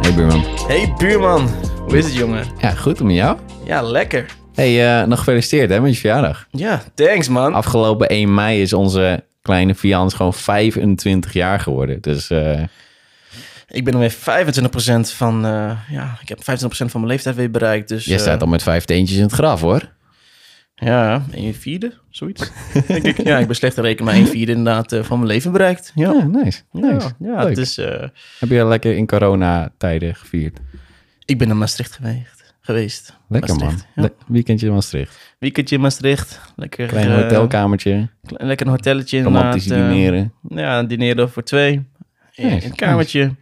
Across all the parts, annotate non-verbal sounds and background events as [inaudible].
Hey buurman. Hey buurman, hoe is het jongen? Ja, goed om met jou. Ja, lekker. Hey, eh, nog gefeliciteerd hè, met je verjaardag. Ja, thanks man. Afgelopen 1 mei is onze kleine Fians gewoon 25 jaar geworden. Dus eh, Ik ben alweer 25% van, eh, ja, ik heb 25% van mijn leeftijd weer bereikt. Dus, je eh, staat al met vijf teentjes in het graf hoor. Ja, een vierde, [laughs] zoiets. ik, denk, ja, ik ben slecht te rekenen, maar een vierde inderdaad eh, van mijn leven bereikt. Ja, Ja, nice. nice. ja, ja Leuk. het is, eh, Heb je lekker in coronatijden gevierd? ik ben naar Maastricht geweest. geweest. Lekker Maastricht, man. ja. Le- weekendje in Maastricht. Weekendje in Maastricht. Lekker, Klein eh, hotelkamertje. kle- lekker een hotelletje inderdaad. Romantisch eh, dineren. ja, dineren voor twee. In Nice, een kamertje.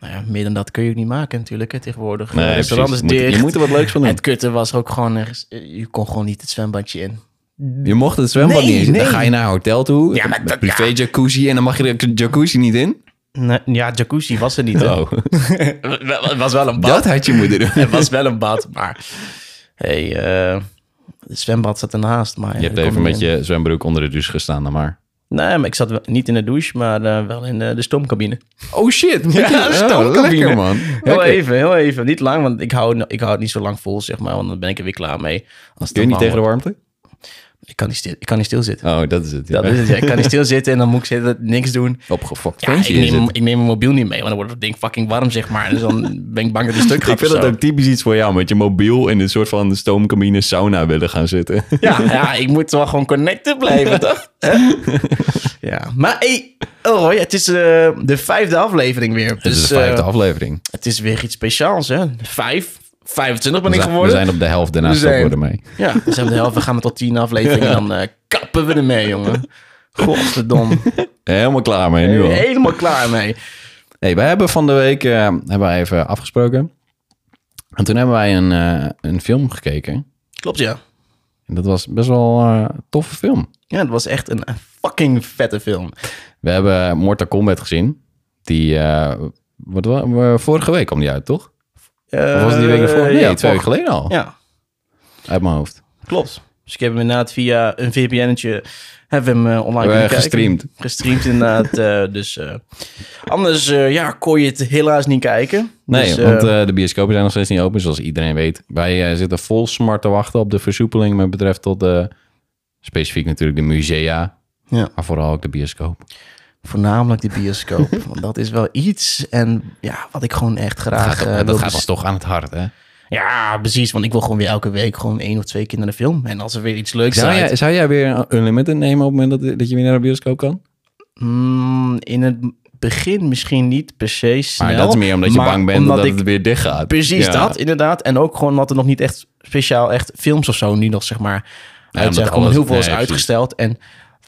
Nou ja, meer dan dat kun je ook niet maken natuurlijk hè, tegenwoordig. Nee, Eh, restaurant is precies. Je moet- dicht. Je moet er wat leuks van En doen. het kutte was ook gewoon ergens... eh, Je kon gewoon niet het zwembadje in. Je mocht het zwembad Nee, niet eens. nee. Dan ga je naar een hotel toe. Ja, Ja, maar maar dat- privé jacuzzi. En dan mag je de jacuzzi niet in. Nee, ja, jacuzzi was er niet. hè. Oh, [laughs] Wel- Het was wel een bad. dat had je moeten [laughs] doen. Het was wel een bad, maar... Hey, eh, het zwembad zat ernaast, maar... Je hebt even met je zwembroek onder de douche gestaan dan maar. Nee, maar ik zat wel- niet in de douche, maar eh, wel in eh, de stoomcabine. Oh shit. Ja, stoomcabine. lekker man. Heel Lekker. even, heel even. Niet lang, want ik hou, ik hou het niet zo lang vol, zeg maar. Want dan ben ik er weer klaar mee. Als het Kun je niet te tegen de warm warmte? wordt. Ik kan niet, stil, ik kan niet stilzitten. Oh, dat is het. Dat is het, ja. Ik kan niet stilzitten en dan moet ik zitten, niks doen. Opgefokt Ja, ik ventje is neem, het. ik neem mijn mobiel niet mee, want dan wordt het ding fucking warm, zeg maar. Dus dan ben ik bang [laughs] dat het stuk gaat Ik vind of dat zo. ook typisch iets voor jou. Met je mobiel in een soort van stoomcabine sauna willen gaan [laughs] zitten. Ja, ja, ik moet wel gewoon connected [laughs] blijven, toch? Hè? ja, maar hey, oh, ja, het is eh, de vijfde aflevering weer. Dit is dus de vijfde eh, aflevering. het is weer iets speciaals, hè? Vijf, 25 ben We ik zijn, we geworden. zijn op de helft daarna We stoppen we zijn- ermee. Ja, dus hebben we de helft, we gaan maar tot tien [laughs] afleveringen, dan eh, kappen we ermee, jongen. Godverdomme. Helemaal klaar mee nu al. Helemaal klaar mee. Hey, wij hebben van de week eh, hebben wij even afgesproken. En toen hebben wij een, eh, een film gekeken. Klopt, ja. En dat was best wel eh, een toffe film. Ja, het was echt een fucking vette film. We hebben Mortal Kombat gezien. Die, eh, wat, wa- vorige week kwam die uit, toch? Of was het die week ervoor? Eh, Nee, ja, twee vor- weken geleden al. Ja, Uit mijn hoofd. Klopt. Dus ik heb hem inderdaad via een VPN'tje hebben we hem eh, online We kunnen hebben kijken. Oh gestreamd. Gestreamd [laughs] inderdaad. eh, dus eh, anders eh, ja, kon je het helaas niet kijken. Nee, Dus, eh, want eh, de bioscopen zijn nog steeds niet open, zoals iedereen weet. Wij eh, zitten vol smart te wachten op de versoepeling met betreft tot de... Specifiek natuurlijk de musea, ja, maar vooral ook de bioscoop. voornamelijk de bioscoop. [laughs] want dat is wel iets. En ja, wat ik gewoon echt Dat graag gaat, eh, dat wil gaat bes- ons toch aan het hart, hè? Ja, precies. Want ik wil gewoon weer elke week gewoon één of twee keer naar de film. En als er weer iets leuks Zou uit- jij, zou jij weer een Unlimited nemen op het moment dat, dat je weer naar de bioscoop kan? Mm, in het begin misschien niet per se snel. Maar dat is meer omdat je maar bang bent omdat dat ik het weer dicht gaat. Precies Ja. dat, inderdaad. En ook gewoon dat er nog niet echt speciaal echt films of zo nu nog, zeg maar, Ja, uit omdat zijn. Gewoon alles- heel veel nee, is precies. uitgesteld. En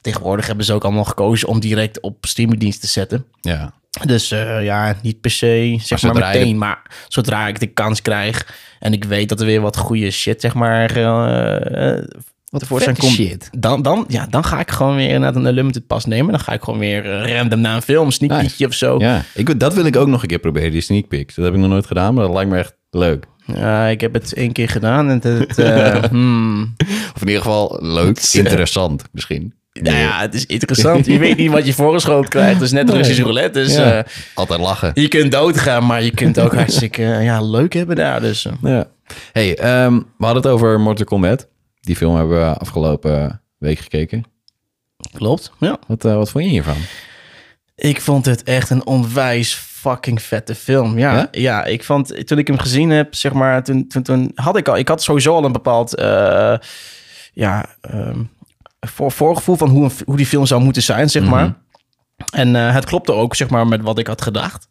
tegenwoordig hebben ze ook allemaal gekozen om direct op streamingdienst te zetten. Ja. Dus eh, ja, niet per se, zeg zodra maar, je de- meteen. Maar zodra ik de kans krijg en ik weet dat er weer wat goede shit, zeg maar, eh, eh, Wat tevoorschijn komt. Dan, dan, ja, dan ga ik gewoon weer inderdaad een Unlimited Pass nemen. Dan ga ik gewoon weer eh, random naar een film, sneak Nice. peekje of zo. Ja, ik, dat wil ik ook nog een keer proberen, die sneak peek. Dat heb ik nog nooit gedaan, maar dat lijkt me echt leuk. Ja, Eh, ik heb het één keer gedaan en het... [laughs] eh, hmm. Of in ieder geval [laughs] leuk, interessant misschien. Nou ja, het is interessant. Je weet niet wat je voorgeschoten krijgt. Het is [laughs] net Russisch roulette. Dus Ja. eh, Altijd lachen. je kunt doodgaan, maar je [laughs] kunt ook hartstikke eh, ja, leuk hebben daar. Dus eh, Ja. Hey, ehm, we hadden het over Mortal Kombat. Die film hebben we afgelopen week gekeken. klopt. Ja. Wat, eh, wat vond je hiervan? Ik vond het echt een onwijs fucking vette film. Ja, Ja? ja? ik vond toen ik hem gezien heb, zeg maar, toen, toen, toen had ik al, ik had sowieso al een bepaald, eh, ja, ehm, voor, voorgevoel van hoe, een, hoe die film zou moeten zijn, zeg maar. En eh, het klopte ook, zeg maar, met wat ik had gedacht.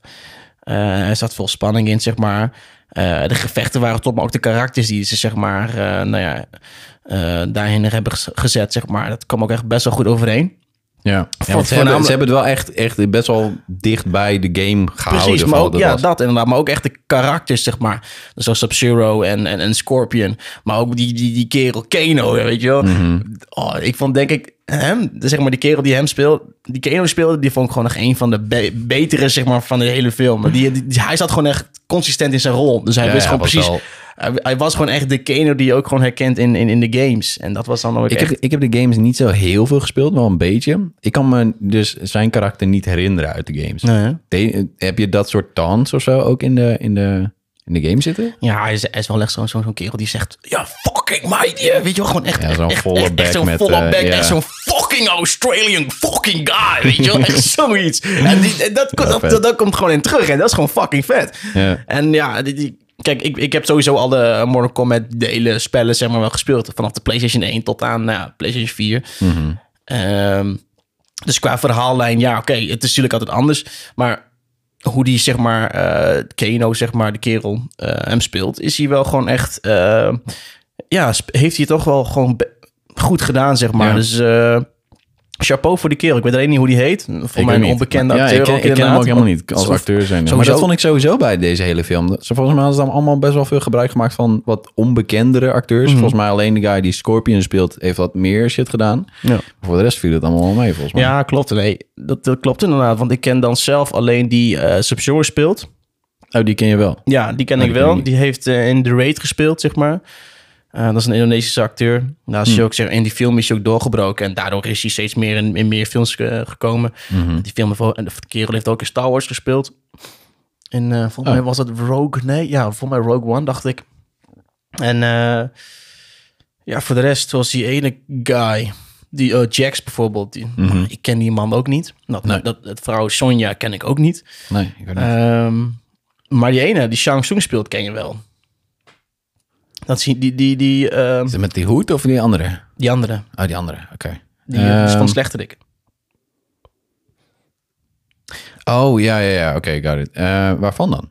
Eh, er zat veel spanning in, zeg maar. Eh, de gevechten waren top, maar ook de karakters die ze, zeg maar, eh, nou ja, eh, daarin hebben gez- gezet, zeg maar. Dat kwam ook echt best wel goed overeen. Ja, want ze, hebben, voornamelijk- ze hebben het wel echt, echt best wel dicht bij de game gehouden. Precies, van maar wat ook, het ja, was. dat inderdaad. Maar ook echt de karakters, zeg maar. Dus Zoals Sub-Zero en, Mhm. en, en Scorpion. Maar ook die, die, die kerel Kano, weet je wel. Oh, ik vond denk ik hem, zeg maar, die kerel die hem speelt, die Keno speelde, die vond ik gewoon nog een van de be- betere, zeg maar, van de hele film. Die, die- die- hij zat gewoon echt consistent in zijn rol. Dus hij Ja, wist ja, gewoon was precies. wel- Hij, hij was gewoon echt de Keno die je ook gewoon herkent in, in, in de games. En dat was dan ook. Ik echt- heb, ik heb de games niet zo heel veel gespeeld, wel een beetje. Ik kan me dus zijn karakter niet herinneren uit de games. Nee, hè? De- heb je dat soort taunts of zo ook in de, in de, in de game zitten? Ja, hij is, hij is wel echt zo'n zo, zo'n kerel die zegt... Ja, fucking mate. ja." Weet je wel, gewoon echt... Ja, zo'n echt- volle echt, bek echt zo'n met, volle eh, bek. ja. Echt zo'n fucking Australian fucking guy. Weet [laughs] je wel, echt zoiets. En die, en dat, dat, vet. dat, dat komt gewoon in terug. En dat is gewoon fucking vet. Ja. En ja, die, die- kijk, ik, ik heb sowieso alle Mortal Kombat delen, spellen, zeg maar, wel gespeeld. Vanaf de PlayStation 1 tot aan nou ja, PlayStation 4. Mhm. Ehm, dus qua verhaallijn, ja, oké, het is natuurlijk altijd anders. Maar hoe die, zeg maar, eh, Kano, zeg maar, de kerel, eh, hem speelt, is hij wel gewoon echt... eh, ja, sp- heeft hij het toch wel gewoon be- goed gedaan, zeg maar. Ja. Dus... eh, Chapeau voor die kerel. Ik weet alleen niet hoe die heet. Voor Ik mij ook een niet. onbekende ja, acteur. Ik ken, ik ken hem inderdaad. ook helemaal niet als Zo- acteur zijn. Maar sowieso- dat vond ik sowieso bij deze hele film. Dat ze- Volgens mij hadden ze dan allemaal best wel veel gebruik gemaakt van wat onbekendere acteurs. Mhm. Volgens mij alleen de guy die Scorpion speelt heeft wat meer shit gedaan. Ja. Voor de rest viel het allemaal wel mee volgens mij. Ja, klopt. Nee, dat, dat klopt inderdaad. Want ik ken dan zelf alleen die eh Sub-Zero speelt. Oh, die ken je wel. Ja, die ken Oh, ik die ken wel. ik niet. die heeft eh, in The Raid gespeeld, zeg maar. Eh, dat is een Indonesische acteur. Nou, is hij ook, zeg, in die film is hij ook doorgebroken. En daardoor is hij steeds meer in, in meer films eh, gekomen. Die film, heeft ook- en de kerel heeft ook in Star Wars gespeeld. En eh, volgens mij was dat Rogue... Nee, ja, volgens mij Rogue One, dacht ik. En eh, ja, voor de rest was die ene guy... Die eh, Jax bijvoorbeeld. Die, Ik ken die man ook niet. Dat, Nee. dat, dat vrouw Sonja ken ik ook niet. Nee, ik weet niet. Ehm, maar die ene, die Shang Tsung speelt, ken je wel. Dat zie die, die, die, ehm, Is het met die hoed of die andere? die andere. Oh, die andere. Oké. Die eh, is Ehm, van Slechterik. Oh, ja, ja, ja. Oké, got it. Eh, waarvan dan?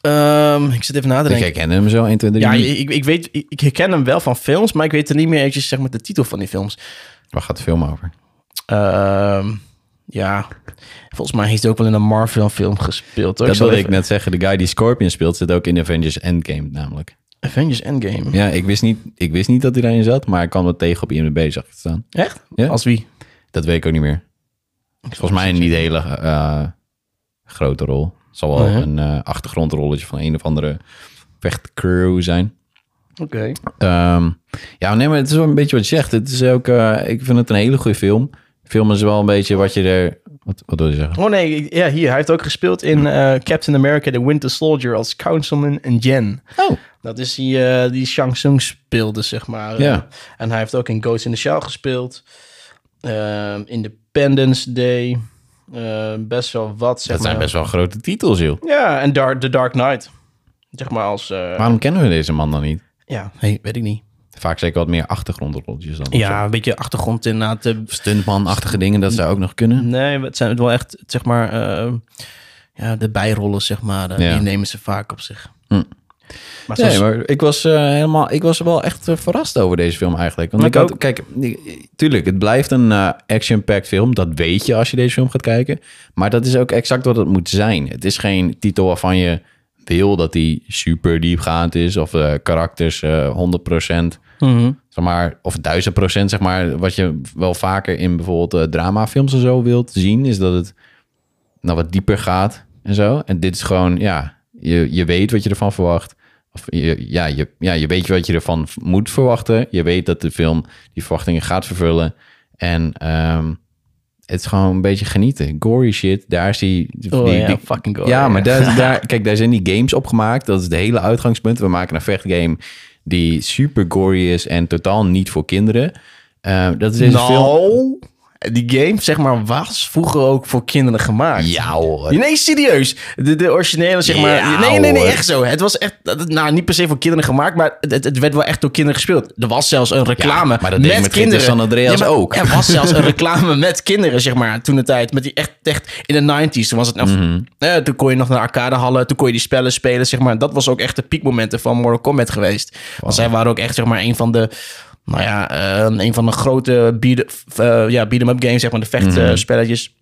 Ehm, ik zit even na te Ik denken. herkende hem zo, 1, 2, 3. Ja, ik, ik weet, ik, ik herken hem wel van films, maar ik weet er niet meer eventjes zeg maar de titel van die films. Waar gaat de film over? Ehm, ja, volgens mij heeft hij ook wel in een Marvel film gespeeld. Hoor. Dat zal wilde ik even- net zeggen. De guy die Scorpion speelt zit ook in Avengers Endgame namelijk. Avengers Endgame. Ja, ik wist niet, ik wist niet dat hij daarin zat, maar ik kwam wel tegen op IMDb, zag ik het staan. Echt? Ja. Als wie? Dat weet ik ook niet meer. Volgens mij een niet hele eh, grote rol. Het zal wel Nee. een eh, achtergrondrolletje van een of andere vechtcrew zijn. Oké. Ehm, ja, nee, maar het is wel een beetje wat je zegt. Het is ook, eh, ik vind het een hele goede film. Film is wel een beetje wat je er... Wat, wat wil je zeggen? Oh nee, ik- ja, hier. Hij heeft ook gespeeld in eh, Captain America The Winter Soldier als Councilman en Jen. Oh, Dat is die, eh, die Shang Tsung speelde, zeg maar. Eh, Ja. En hij heeft ook in Ghost in the Shell gespeeld. Ehm, Independence Day. Ehm, best wel wat, zeg dat zijn maar. best wel grote titels, joh. Ja, en Dar- The Dark Knight. Zeg maar als... eh, Waarom kennen we deze man dan niet? ja, hey, weet ik niet. Vaak zeker wat meer achtergrondrolletjes dan. of zo. Ja, een beetje achtergrond inderdaad. eh, Stuntman-achtige dingen, dat zou ook nog kunnen. Nee, het zijn wel echt, zeg maar... ehm, ja, de bijrollen, zeg maar. eh, Ja. Hm. Die nemen ze vaak op zich. Maar zoals- Nee, maar ik was, eh, helemaal, ik was wel echt eh, verrast over deze film eigenlijk. Want Ik ik had, ook. Kijk, ik- tuurlijk, het blijft een eh, action-packed film. Dat weet je als je deze film gaat kijken. Maar dat is ook exact wat het moet zijn. Het is geen titel waarvan je wil dat die super diepgaand is. Of eh, karakters eh 100%, Mhm. zeg maar, of 1000%, zeg maar. Wat je wel vaker in bijvoorbeeld eh, dramafilms en zo wilt zien, is dat het nou wat dieper gaat en zo. En dit is gewoon, ja, je, je weet wat je ervan verwacht. Of je, ja, je, ja, je weet wat je ervan v- moet verwachten. Je weet dat de film die verwachtingen gaat vervullen. En ehm, het is gewoon een beetje genieten. Gory shit, daar is die... die, Oh, ja, die- fucking gore, ja, ja. maar [laughs] daar, is- daar, kijk, daar zijn die games op gemaakt. Dat is het hele uitgangspunt. We maken een vechtgame die super gory is en totaal niet voor kinderen. Eh, dat is deze film... nou, die game, zeg maar, was vroeger ook voor kinderen gemaakt. Ja hoor. Nee, serieus. De, de originele, zeg maar. Ja, nee, nee, nee, hoor. echt zo. Het was echt, dat- nou, niet per se voor kinderen gemaakt, maar het, het werd wel echt door kinderen gespeeld. Er was zelfs een reclame Ja, maar dat met deed met Gita kinderen. San Andreas maar ook. Er was zelfs [laughs] een reclame met kinderen, zeg maar, toen de tijd. Met die echt, echt in de 90s. Toen was het, nou, Mhm. eh, toen kon je nog naar arcadehallen, toen kon je die spellen spelen, zeg maar. Dat was ook echt de piekmomenten van Mortal Kombat geweest. Want zij waren ook echt, zeg maar, een van de. Nou ja, eh, een van de grote beat, eh, ja, beat-em-up games, zeg maar, de vechtspelletjes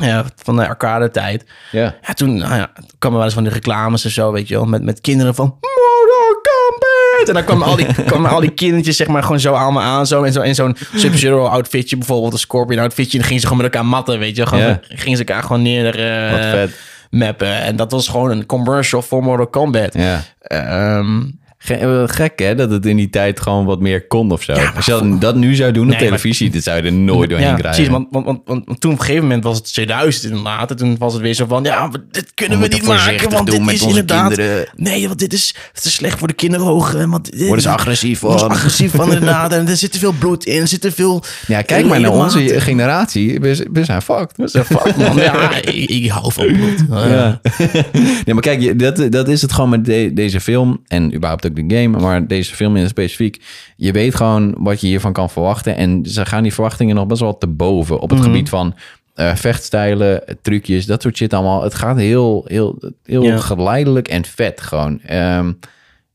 Mhm. ja, van de arcade-tijd. Ja. Ja, toen nou ja, toen kwam er wel eens van die reclames en zo, weet je wel. Met, met kinderen van... Mortal Kombat! uit. En dan kwamen al die, [laughs] kwamen al die kindertjes zeg maar gewoon zo aan me aan. Zo, in zo'n in zo'n Sub-Zero outfitje bijvoorbeeld, een Scorpion outfitje. En dan gingen ze gewoon met elkaar matten, weet je. Gewoon, Ja. Gingen ze elkaar gewoon neer eh, Wat vet. mappen. En dat was gewoon een commercial voor Mortal Kombat. Ja. Ehm, Ge- eh, Gek hè, dat het in die tijd gewoon wat meer kon of zo. Als je dat, dat nu zou doen op Nee, maar- televisie, dat zou je er nooit doorheen ja, krijgen. precies. Want, want, want, want, want toen op een gegeven moment was het 2000 inderdaad. En toen was het weer zo van, ja, maar dit kunnen we, moeten niet maken. voorzichtig Want doen dit met is onze inderdaad... kinderen. Nee, want dit is te slecht voor de kinderogen. Want dit Worden ze is- agressief worden ze van. agressief [laughs] van inderdaad. En er zit te veel bloed in. Er zit te veel... Ja, kijk maar naar ledematen. onze generatie. We, we zijn fucked. Ja, fuck, man. Ja, ik, ik hou van bloed. Oh, Ja. [laughs] nee, maar kijk, je- dat, dat is het gewoon met de- deze film. En überhaupt ook de game. Maar deze film in het specifiek. Je weet gewoon wat je hiervan kan verwachten. En ze gaan die verwachtingen nog best wel te boven. Op het gebied van eh, vechtstijlen, trucjes, dat soort shit allemaal. Het gaat heel, heel, heel Ja. geleidelijk en vet gewoon. Ehm,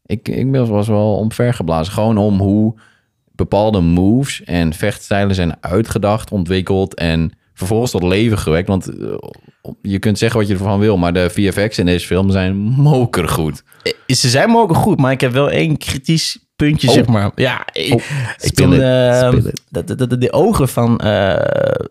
ik, ik was wel omvergeblazen. Gewoon om hoe bepaalde moves en vechtstijlen zijn uitgedacht, ontwikkeld en vervolgens tot leven gewekt. Want eh, op- je kunt zeggen wat je ervan wil, maar de VFX in deze film zijn mokergoed. Eh, Ze zijn me ook goed, maar ik heb wel één kritisch puntje, Oh. zeg maar. Ja, ik, Oh, ik spill vond it, eh, spill it. de, de, de, de ogen van eh,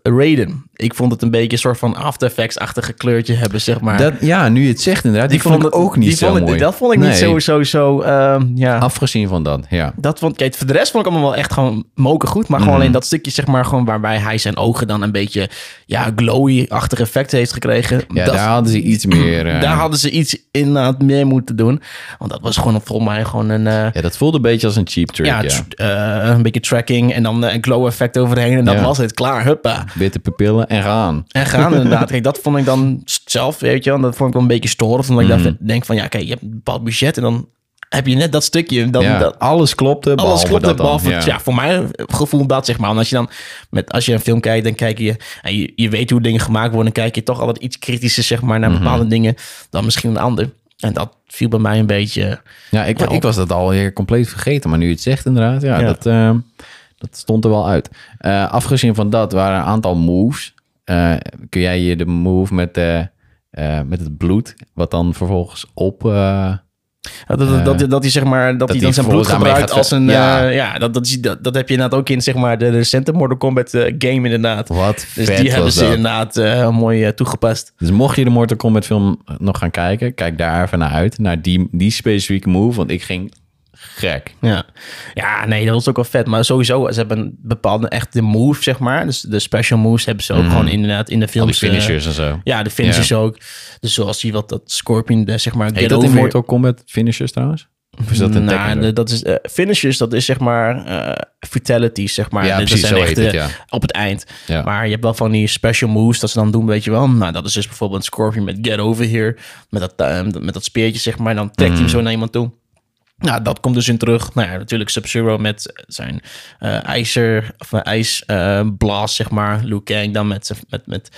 Raiden. Ik vond het een beetje een soort van After Effects-achtige kleurtje hebben, zeg maar. Dat, ja, nu je het zegt inderdaad, die, vond ik het- ook niet die zo vond ik- mooi. Dat vond ik Nee, niet zo, zo, zo ehm, ja. Afgezien van dat, ja. Dat vond ik, kijk, voor de rest vond ik allemaal wel echt gewoon moken goed. Maar gewoon Mhm. alleen dat stukje, zeg maar, gewoon waarbij hij zijn ogen dan een beetje, ja, glowy-achtig effect heeft gekregen. ja dat, daar hadden ze [clears throat] iets meer... eh, daar hadden ze iets inderdaad meer moeten doen. Want dat was gewoon volgens mij gewoon een... eh, ja, dat voelde een beetje als een cheap trick, ja. ja, tr- eh, een beetje tracking en dan eh, een glow effect overheen. En dat Ja. was het, klaar, huppa. Witte pupillen en gaan. En gaan [laughs] inderdaad. Kijk, dat vond ik dan s- zelf, weet je wel, dat vond ik wel een beetje storend. Omdat ik Mhm. dacht, denk van, ja, kijk, je hebt een bepaald budget en dan heb je net dat stukje. Dan, Ja, dat, alles klopte, alles behalve klopt dat dat dan. behalve, ja. ja. voor mijn gevoel dat, zeg maar. Want als je dan, met, als je een film kijkt, dan kijk je, en je, je weet hoe dingen gemaakt worden, dan kijk je toch altijd iets kritischer, zeg maar, Mhm. naar bepaalde dingen dan misschien een ander. En dat viel bij mij een beetje... Ja, ik, Ja, ik op- was dat alweer compleet vergeten. Maar nu je het zegt inderdaad, ja, Ja. Dat, eh, dat stond er wel uit. Eh, afgezien van dat waren een aantal moves. Eh, kun jij je de move met, eh, eh, met het bloed, wat dan vervolgens op... eh, Dat, dat, dat, dat, hij, zeg maar, dat, hij hij dan zijn bloed vervolgens daarmee gebruikt gaat als een... ver- Ja, ja dat, dat, is- dat, dat heb je inderdaad ook in zeg maar, de recente Mortal Kombat eh, game inderdaad. wat Dus vet die hebben was ze dat. inderdaad eh, mooi eh, toegepast. Dus mocht je de Mortal Kombat film nog gaan kijken, kijk daar even naar uit. Naar die, die specifieke move, want ik ging gek. Ja. ja, nee, dat was ook wel vet. Maar sowieso, ze hebben een bepaalde echte move, zeg maar. Dus de special moves hebben ze ook gewoon inderdaad in de Mhm. Al die films. eh, finishers en zo. ja, de finishers ook. Dus zoals die wat dat Scorpion, eh, zeg maar, Heet get dat in over- Mortal Kombat finishers trouwens? Of is dat een Nou, Tekken? de- dat is eh, finishers, dat is zeg maar eh fatalities, zeg maar. Ja, Dat precies, zijn zo heet echt, het, eh, ja. Op het eind. Ja. Maar je hebt wel van die special moves dat ze dan doen, weet je wel. Nou, dat is dus bijvoorbeeld Scorpion met Get Over Here. Met dat, eh, met dat speertje, zeg maar. En dan trekt hij Hmm. hem zo naar iemand toe. Nou, dat komt dus in terug. Nou ja, natuurlijk Sub-Zero met zijn eh, ijzer, of eh, ijs ijsblaas, zeg maar. Liu Kang dan met, zijn- met, met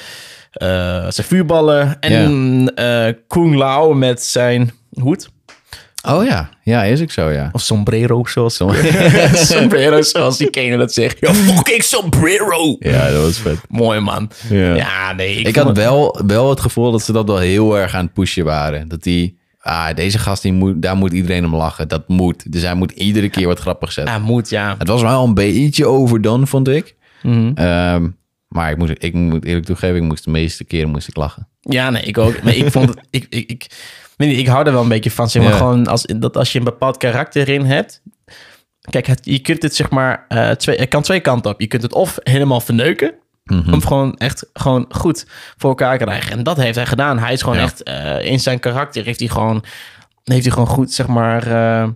eh, zijn vuurballen. En eh, Kung Lao met zijn hoed. Oh ja, ja, is ik zo, ja. Of sombrero, zoals... [laughs] sombrero, zoals die kenen dat zegt. Yo, fucking sombrero! Ja, dat was vet. Mooi, man. Ja. Ja, nee. Ik, Ik vond had het- wel, wel het gevoel dat ze dat wel heel erg aan het pushen waren. Dat die, ah, deze gast, die moet, daar moet iedereen om lachen. Dat moet. Dus hij moet iedere keer wat grappig zetten. Ja, moet, ja. Mhm. Het was wel een beetje overdone, vond ik. Ehm, maar ik moet, ik moet eerlijk toegeven, ik moest de meeste keren moest ik lachen. Ja, nee, ik ook. Maar ik vond het... Ik, ik, ik, weet niet, ik hou er wel een beetje van, zeg maar. Ja. Gewoon als, dat als je een bepaald karakter in hebt... Kijk, het, je kunt het zeg maar... eh, twee, het kan twee kanten op. Je kunt het of helemaal verneuken... Mhm. Of gewoon echt gewoon goed voor elkaar krijgen. En dat heeft hij gedaan. Hij is gewoon Ja. echt... eh, in zijn karakter heeft hij gewoon... Heeft hij gewoon goed, zeg maar... eh,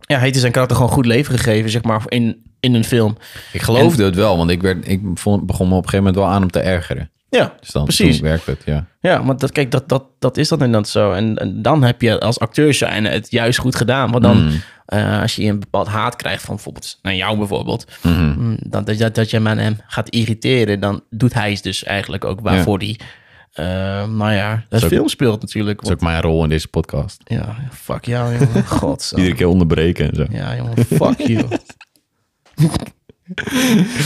ja, heeft hij zijn karakter gewoon goed leven gegeven, zeg maar, in, in een film. Ik geloofde het wel, want ik, werd, ik vond, begon me op een gegeven moment wel aan om te ergeren. Ja, Dus dan precies. toen werkte het, ja. Ja, want dat, kijk, dat, dat, dat is dat inderdaad zo. En, en dan heb je als acteur zijn het juist goed gedaan. Want dan, eh, als je een bepaald haat krijgt van bijvoorbeeld, naar jou bijvoorbeeld, mm, dat, dat, dat je hem aan hem gaat irriteren, dan doet hij het dus eigenlijk ook waarvoor die hij, eh, nou ja, het ook- film speelt natuurlijk. Dat is ook mijn rol in deze podcast. Want- ja, fuck jou, jongen. God. Iedere keer onderbreken en zo. Ja, jongen, fuck you.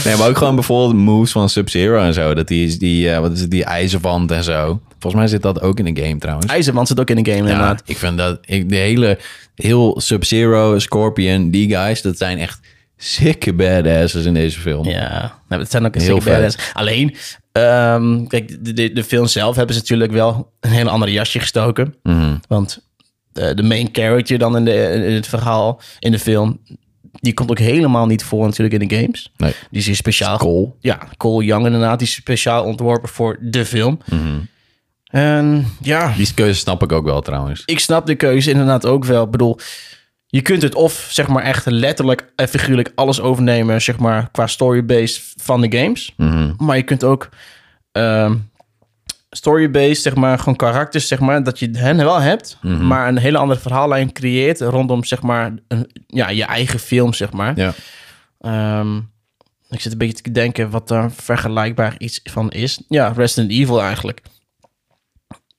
Nee, maar ook gewoon bijvoorbeeld moves van Sub-Zero en zo. Dat die, is die, eh, wat is het, die ijzerwand en zo. Volgens mij zit dat ook in de game trouwens. IJzerwand zit ook in de game, Ja, inderdaad. ik vind dat ik, de hele heel Sub-Zero, Scorpion, die guys, dat zijn echt sikke badasses in deze film. Ja, nou, het zijn ook een Heel heel badass. Alleen, ehm, kijk, de, de, de film zelf hebben ze natuurlijk wel een heel ander jasje gestoken. Mhm. Want eh, de, de main character dan in, de, in het verhaal, in de film, die komt ook helemaal niet voor natuurlijk in de games. Nee. Die is hier speciaal... Cole. Ja, Cole Young inderdaad, die is speciaal ontworpen voor de film. Mhm. En ja, Die keuze snap ik ook wel trouwens. ik snap de keuze inderdaad ook wel. Ik bedoel, je kunt het of zeg maar echt letterlijk en figuurlijk alles overnemen, zeg maar qua story-based van de games. Maar je kunt ook ehm, story-based, zeg maar gewoon karakters, zeg maar dat je hen wel hebt, maar een hele andere verhaallijn creëert rondom zeg maar een, ja, je eigen film, zeg maar. Ja. Ehm, ik zit een beetje te denken wat daar vergelijkbaar iets van is. Ja, Resident Evil eigenlijk.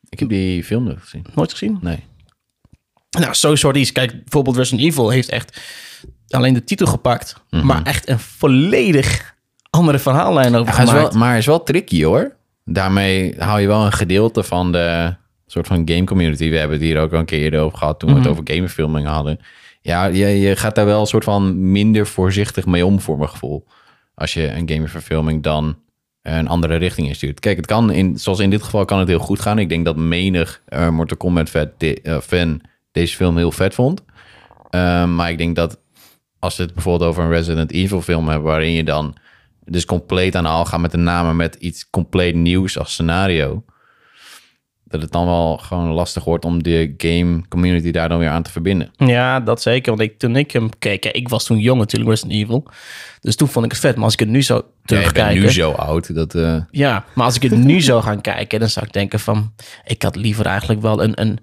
Ik heb die film nog gezien. Nooit gezien? Nee. Nou, zo soort iets. Kijk, bijvoorbeeld Resident Evil heeft echt alleen de titel gepakt, Mhm. maar echt een volledig andere verhaallijn over Hij is wel, gemaakt. maar hij is wel tricky hoor. Daarmee hou je wel een gedeelte van de soort van game community. We hebben het hier ook al een keer eerder over gehad toen we het over gamefilming hadden. Ja, je, je gaat daar wel een soort van minder voorzichtig mee om voor mijn gevoel. Als je een gamerverfilming dan een andere richting instuurt. Kijk, het kan in, zoals in dit geval kan het heel goed gaan. Ik denk dat menig eh, Mortal Kombat vet, de- eh, fan deze film heel vet vond. Ehm, maar ik denk dat als we het bijvoorbeeld over een Resident Evil film hebben... waarin je dan dus compleet aan de haal gaat met de namen... met iets compleet nieuws als scenario... dat het dan wel gewoon lastig wordt om de game community daar dan weer aan te verbinden. Ja, dat zeker. Want ik, toen ik hem keek, kijk, ik was toen jong natuurlijk, Resident Evil. Dus toen vond ik het vet. Maar als ik het nu zou Jij bent terugkijken... nu zo oud dat... eh, Ja, maar als ik het nu zou gaan kijken, dan zou ik denken van... Ik had liever eigenlijk wel een, een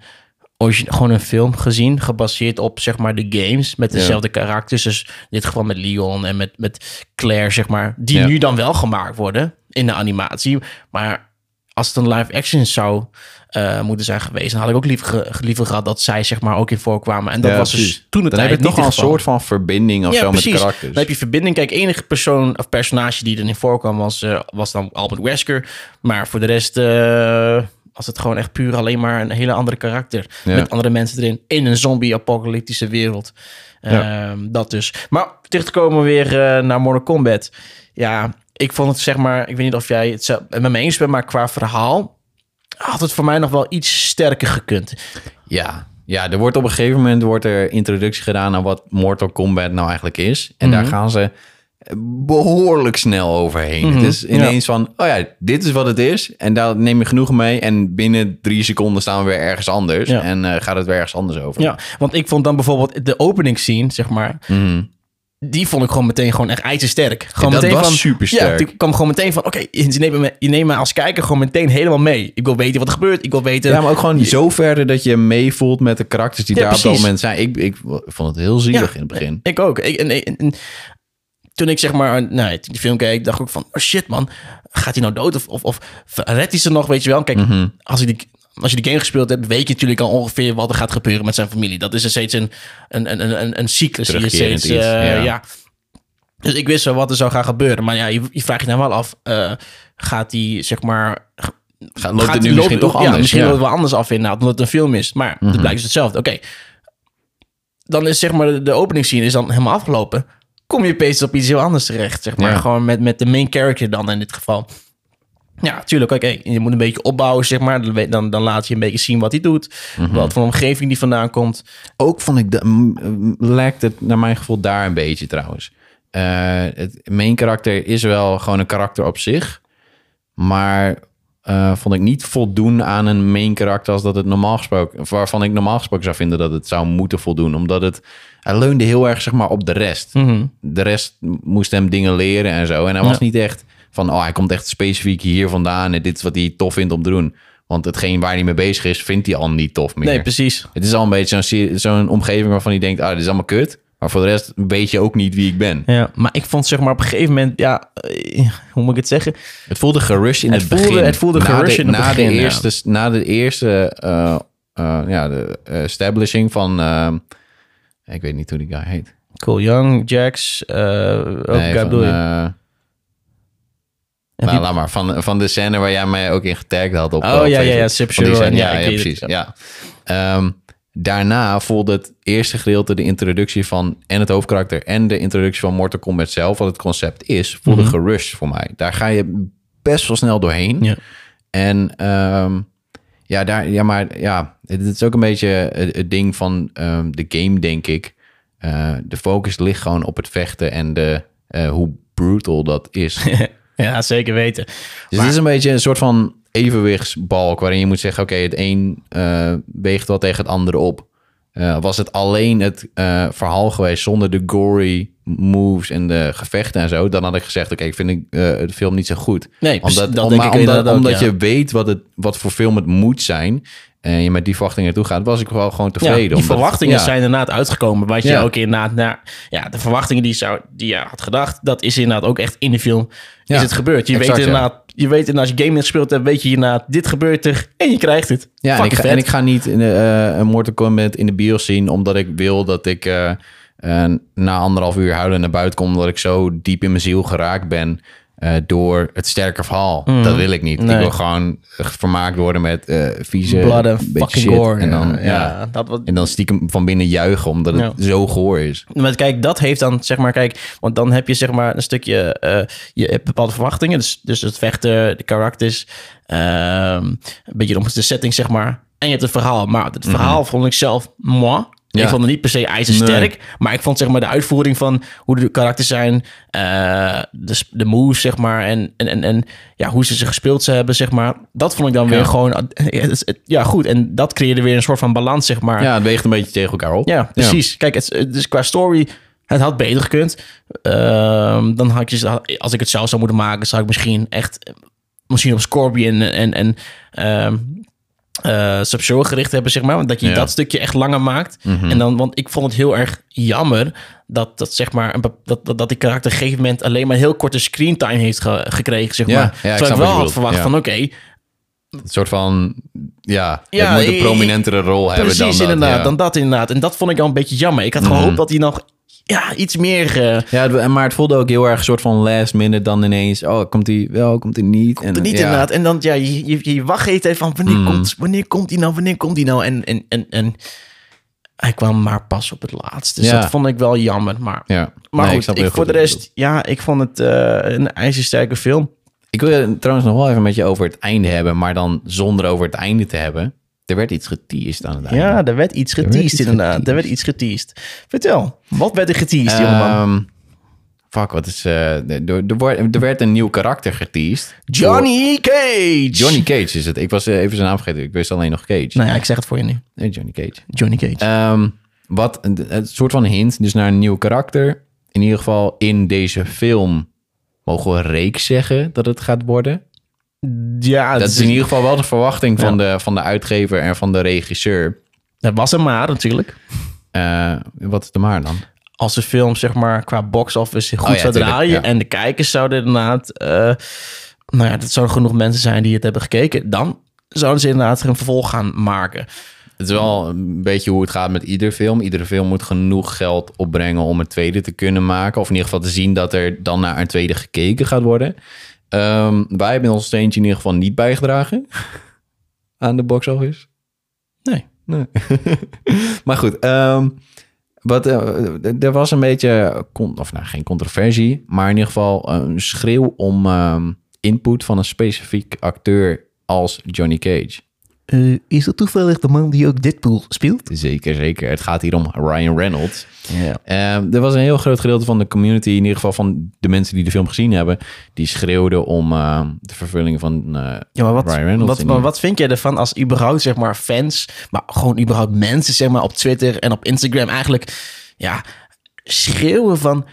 origine- gewoon een film gezien... gebaseerd op, zeg maar, de games met dezelfde karakters. Dus in dit geval met Leon en met, met Claire, zeg maar. Die Ja. nu dan wel gemaakt worden in de animatie. Maar als het een live action zou eh, moeten zijn geweest... dan had ik ook liever, ge- liever gehad dat zij, zeg maar, ook in voorkwamen. En dat ja, was precies. dus toen het dan heb je tijd toch niet al een het geval. soort van verbinding of zo met de karakters. Dan heb je verbinding. Kijk, enige persoon of personage die erin voorkwam was, eh, was dan Albert Wesker. Maar voor de rest eh, was het gewoon echt puur alleen maar een hele andere karakter. Ja. Met andere mensen erin. In een zombie-apocalyptische wereld. Ja. Ehm, dat dus. Maar terug te komen weer eh, naar Mortal Kombat. Ja, ik vond het zeg maar... Ik weet niet of jij het zo- met me eens bent, maar qua verhaal... had het voor mij nog wel iets sterker gekund. Ja. ja, er wordt op een gegeven moment wordt er introductie gedaan aan wat Mortal Kombat nou eigenlijk is. En Mhm. daar gaan ze behoorlijk snel overheen. Mhm. Het is ineens van, oh ja, dit is wat het is. En daar neem je genoeg mee. En binnen drie seconden staan we weer ergens anders. Ja. En eh, gaat het weer ergens anders over. Ja, want ik vond dan bijvoorbeeld de openingsscene, zeg maar. Die vond ik gewoon meteen gewoon echt ijzersterk. Gewoon Mhm. dat meteen was van, supersterk. Ja, ik kwam gewoon meteen van, oké, je, neemt me, je neemt me als kijker gewoon meteen helemaal mee. Ik wil weten wat er gebeurt. Ik wil weten... Ja, maar ook gewoon zo verder dat je meevoelt met de karakters die Ja, daar op dat precies. moment zijn. Ik, ik vond het heel zielig in het begin. Ik ook. Ik, en, en- en toen ik zeg maar nou, toen ik die film keek, dacht ik ook van, oh shit man, gaat hij nou dood of, of, of redt hij ze nog, weet je wel? Kijk, Mhm. als, ik die, als je die game gespeeld hebt, weet je natuurlijk al ongeveer wat er gaat gebeuren met zijn familie. Dat is er steeds een, een, een, een, een, een cyclus. die je Terugkerend steeds, iets, eh, ja. ja. Dus ik wist wel wat er zou gaan gebeuren. Maar ja, je, je vraagt je dan wel af, eh, gaat die zeg maar... Gaat, loopt gaat het die nu misschien lopen- toch anders? Ja, misschien Ja. Mhm. loopt het wel anders af inderdaad, omdat het een film is. Maar het blijkt dus hetzelfde. Oké, dan is zeg maar de, de openingsscene is dan helemaal afgelopen. Kom je opeens op iets heel anders terecht, zeg maar. Ja. Gewoon met, met de main character dan in dit geval. Ja, tuurlijk. Oké, je moet een beetje opbouwen, zeg maar. Dan, weet- dan, dan laat je een beetje zien wat hij doet. Mhm. Wat voor omgeving die vandaan komt. Ook vond ik dat m- m- lijkt het naar mijn gevoel daar een beetje trouwens. Eh, het main karakter is wel gewoon een karakter op zich, maar eh, vond ik niet voldoen aan een main karakter als dat het normaal gesproken, waarvan ik normaal gesproken zou vinden dat het zou moeten voldoen, omdat het hij leunde heel erg zeg maar op de rest. De rest moest hem dingen leren en zo, en hij was niet echt van oh hij komt echt specifiek hier vandaan en dit is wat hij tof vindt om te doen, want hetgeen waar hij mee bezig is vindt hij al niet tof meer. Nee, precies. Het is al een beetje zo'n serie- zo'n omgeving waarvan je denkt, ah, dit is allemaal kut. Maar voor de rest weet je ook niet wie ik ben. Ja, maar ik vond zeg maar op een gegeven moment, ja, eh, hoe moet ik het zeggen? Het voelde gerushed in het, Het voelde- begin. het voelde Na de- gerushed in het na begin, De ja. eerste, Na de eerste eh, eh, ja, de establishing van... eh, ik weet eh, niet hoe die guy heet. Cool Young, Jax, eh ook Nee, Guy van, bedoel je? eh, En nou, wie- laat maar. Van, van de scène waar jij mij ook in getagd had op eh, Oh, op ja, ja, Facebook. ja, Van die Sub-Zero scène, en ja, Ja, ik ja, weet het, precies. Ja. Ehm, daarna voelde het eerste gedeelte de introductie van... en het hoofdkarakter en de introductie van Mortal Kombat zelf... wat het concept is, voelde Mhm. gerust voor mij. Daar ga je best wel snel doorheen. Ja. En ehm, ja, daar, ja, maar ja, het, het is ook een beetje het, het ding van ehm, de game, denk ik. Eh, de focus ligt gewoon op het vechten en de, eh, hoe brutal dat is. ja, zeker weten. Dus het is een beetje een soort van evenwichtsbalk waarin je moet zeggen: oké, het een eh, weegt wel tegen het andere op. Eh, was het alleen het eh, verhaal geweest zonder de gory moves en de gevechten en zo, dan had ik gezegd: oké, ik vind ik, eh, de film niet zo goed. Nee, precies, omdat, dat om- denk maar ik omdat, inderdaad ook, omdat ja. je weet wat, het, wat voor film het moet zijn en je met die verwachtingen naartoe gaat, was ik wel gewoon Ja, tevreden. die Omdat- verwachtingen ja. zijn inderdaad uitgekomen. Wat je Ja. ook inderdaad naar... Ja, de verwachtingen die, je zou, die je had gedacht... dat is inderdaad ook echt in de film Ja, is het gebeurd. Je exact, weet ja. inderdaad... Je weet inderdaad, als je game gespeeld hebt... weet je inderdaad, dit gebeurt er en je krijgt het. Ja, en ik, Fucking ga, en vet. ik ga niet in, eh een Mortal Kombat in de bios zien... omdat ik wil dat ik eh, eh, na anderhalf uur huilen naar buiten kom... omdat ik zo diep in mijn ziel geraakt ben eh, door het sterke verhaal. Dat wil ik niet. Mhm. Nee. Ik wil gewoon eh, vermaakt worden met eh vieze... Blood en beetje fucking shit. gore. En dan, ja, ja, ja, dat wat, en dan stiekem van binnen juichen omdat het Ja. zo goor is. Maar kijk, dat heeft dan, zeg maar, kijk, want dan heb je zeg maar een stukje, eh, je hebt bepaalde verwachtingen, dus, dus het vechten, de karakters, ehm, een beetje om de setting, zeg maar. En je hebt het verhaal, maar het verhaal vond ik zelf moi. Mhm. Ja. Ik vond het niet per se ijzersterk, maar ik vond zeg maar de uitvoering van hoe de karakters zijn, eh, de, s- de moves, zeg maar, en, en, en, en ja, hoe ze ze gespeeld ze hebben, zeg maar. Dat vond ik dan weer Ja. gewoon, eh, ja goed, en dat creëerde weer een soort van balans, zeg maar. Ja, het weegt een beetje tegen elkaar op. Ja, precies. Kijk, het, het is qua story, het had beter gekund. Ehm, dan had je, als ik het zelf zou moeten maken, zou ik misschien echt, misschien op Scorpion en, en ehm eh, Sub-Zero gericht hebben, zeg maar. Want dat je Ja. Mhm. dat stukje echt langer maakt. En dan, want ik vond het heel erg jammer dat, dat zeg maar, een, bep- dat, dat, dat die karakter op een gegeven moment alleen maar een heel korte screentime heeft ge- gekregen, zeg Ja, ja, maar. ik snap Terwijl wat ik je wel had bedoelt. verwacht Ja. van, oké, Een soort van, ja, Ja, het moet ik- een prominentere rol hebben dan Precies, dat, inderdaad. ja. Mhm. Dan dat inderdaad. En dat vond ik al een beetje jammer. Ik had gehoopt dat hij nog ja, iets meer... eh, Ja, het- maar het voelde ook heel erg een soort van last minute dan ineens. Oh, komt hij wel, komt hij niet? Komt niet inderdaad. En dan, ja, je, je, je wacht even van wanneer Hmm. komt wanneer komt die nou, wanneer komt die nou? En, en, en, en hij kwam maar pas op het laatst. Dus Ja. dat vond ik wel jammer. Maar, Ja. maar Nee, ik goed, snap ik heel voor de wat je rest, bedoelt. ja, ik vond het eh, een ijzersterke film. Ik wil het trouwens nog wel even met je over het einde hebben, maar dan zonder over het einde te hebben. Er werd iets geteased aan het einde. Ja, er werd iets werd geteased iets inderdaad. Er werd geteased. iets geteased. Vertel, wat werd er geteased, jongeman? Ehm, fuck, wat is... eh, er, er, wordt- er werd een nieuw karakter geteased. Johnny Cage! Door- Johnny Cage is het. Ik was eh, even zijn naam vergeten. Ik wist alleen nog Cage. Nou ja, ik zeg het voor je nu. Nee, Johnny Cage. Johnny Cage. Ehm, wat een, een soort van hint, dus naar een nieuw karakter. In ieder geval in deze film mogen we reeks zeggen dat het gaat worden. ja, Dat het is in ieder geval wel de verwachting van, de, van de uitgever en van de regisseur. Dat was een maar natuurlijk. Eh, wat is de maar dan? Als de film, zeg maar, qua box office goed Oh ja, zou tuurlijk, draaien. ja. En de kijkers zouden inderdaad. eh, nou ja, dat zouden genoeg mensen zijn die het hebben gekeken. Dan zouden ze inderdaad er een vervolg gaan maken. Het is wel een beetje hoe het gaat met ieder film. Iedere film moet genoeg geld opbrengen om een tweede te kunnen maken. Of in ieder geval te zien dat er dan naar een tweede gekeken gaat worden. Ehm, wij hebben ons steentje in ieder geval niet bijgedragen aan de box office. Nee. Nee. [laughs] maar goed, ehm, wat, eh, d- er was een beetje, con- of nou geen controversie, maar in ieder geval een schreeuw om ehm, input van een specifiek acteur als Johnny Cage. Eh, is dat toevallig de man die ook Deadpool speelt? Zeker, zeker. Het gaat hier om Ryan Reynolds. Ja. Ehm, er was een heel groot gedeelte van de community, in ieder geval van de mensen die de film gezien hebben, die schreeuwden om ehm, de vervulling van eh, Ja, maar wat, Ryan Reynolds. wat, in maar wat vind jij ervan als überhaupt, zeg maar, fans, maar gewoon überhaupt mensen, zeg maar, op Twitter en op Instagram eigenlijk, ja, schreeuwen van,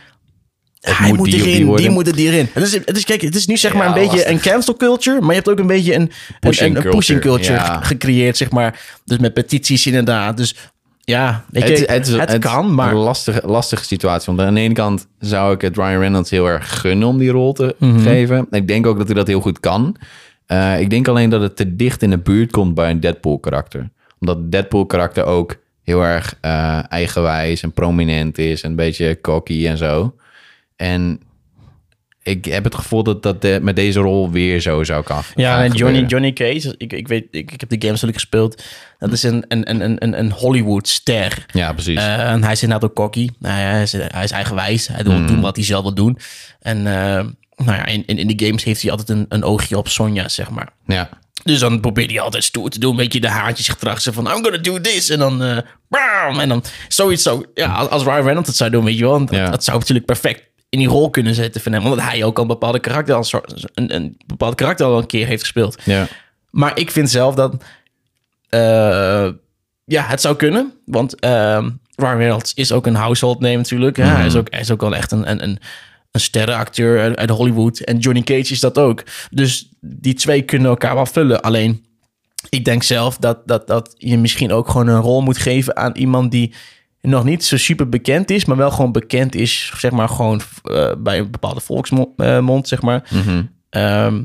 "Ah, hij moet moet die of die erin, die, worden." moet er hierin. Het is, het is, kijk, het is nu zeg maar Ja, een beetje lastig. een cancel culture, maar je hebt ook een beetje een, een, Pushing een- een pushing culture, culture ja. ge- gecreëerd, zeg maar, dus met petities inderdaad, dus ja, weet je, het, is- is- het is kan, maar... Een lastige, lastige situatie. Want aan de ene kant zou ik het Ryan Reynolds heel erg gunnen om die rol te Mhm. geven. Ik denk ook dat hij dat heel goed kan. Eh, ik denk alleen dat het te dicht in de buurt komt bij een Deadpool-karakter. Omdat Deadpool-karakter ook heel erg eh, eigenwijs en prominent is. En een beetje cocky en zo. En ik heb het gevoel dat dat de- met deze rol weer zo zou kan Ja, gaan en Johnny, gebeuren. Johnny Cage, ik, ik weet, ik, ik heb de games natuurlijk gespeeld. Dat is een, een, een- een, een, een Hollywood-ster. Ja, precies. Eh, en hij is inderdaad ook cocky. Nou ja, hij, is, hij is eigenwijs. Hij wil doen wat hij zelf wil doen. En eh, nou ja, in, in, in de games heeft hij altijd een, een oogje op Sonja, zeg maar. ja. Dus dan probeert hij altijd stoer te doen. Een beetje de haantjes gedrag. Zo van, I'm gonna do this. En dan, eh bam. En dan zoiets zo. Ja, als, als Ryan Reynolds het zou doen, weet je wel. want Dat, Ja. dat zou natuurlijk perfect in die rol kunnen zetten van hem. Omdat hij ook al een bepaalde karakter al, zo- een, een bepaald karakter al een keer heeft gespeeld. ja. Maar ik vind zelf dat... eh, ja, het zou kunnen. Want eh, Ryan Reynolds is ook een household name natuurlijk. Mhm. Ja, hij, is ook, hij is ook wel echt een, een, een, een sterrenacteur uit, uit Hollywood. En Johnny Cage is dat ook. Dus die twee kunnen elkaar wel vullen. Alleen, ik denk zelf dat, dat, dat je misschien ook gewoon een rol moet geven aan iemand die nog niet zo super bekend is, maar wel gewoon bekend is, zeg maar, gewoon eh, bij een bepaalde volksmond, eh, mond, zeg maar. Ehm, Mhm.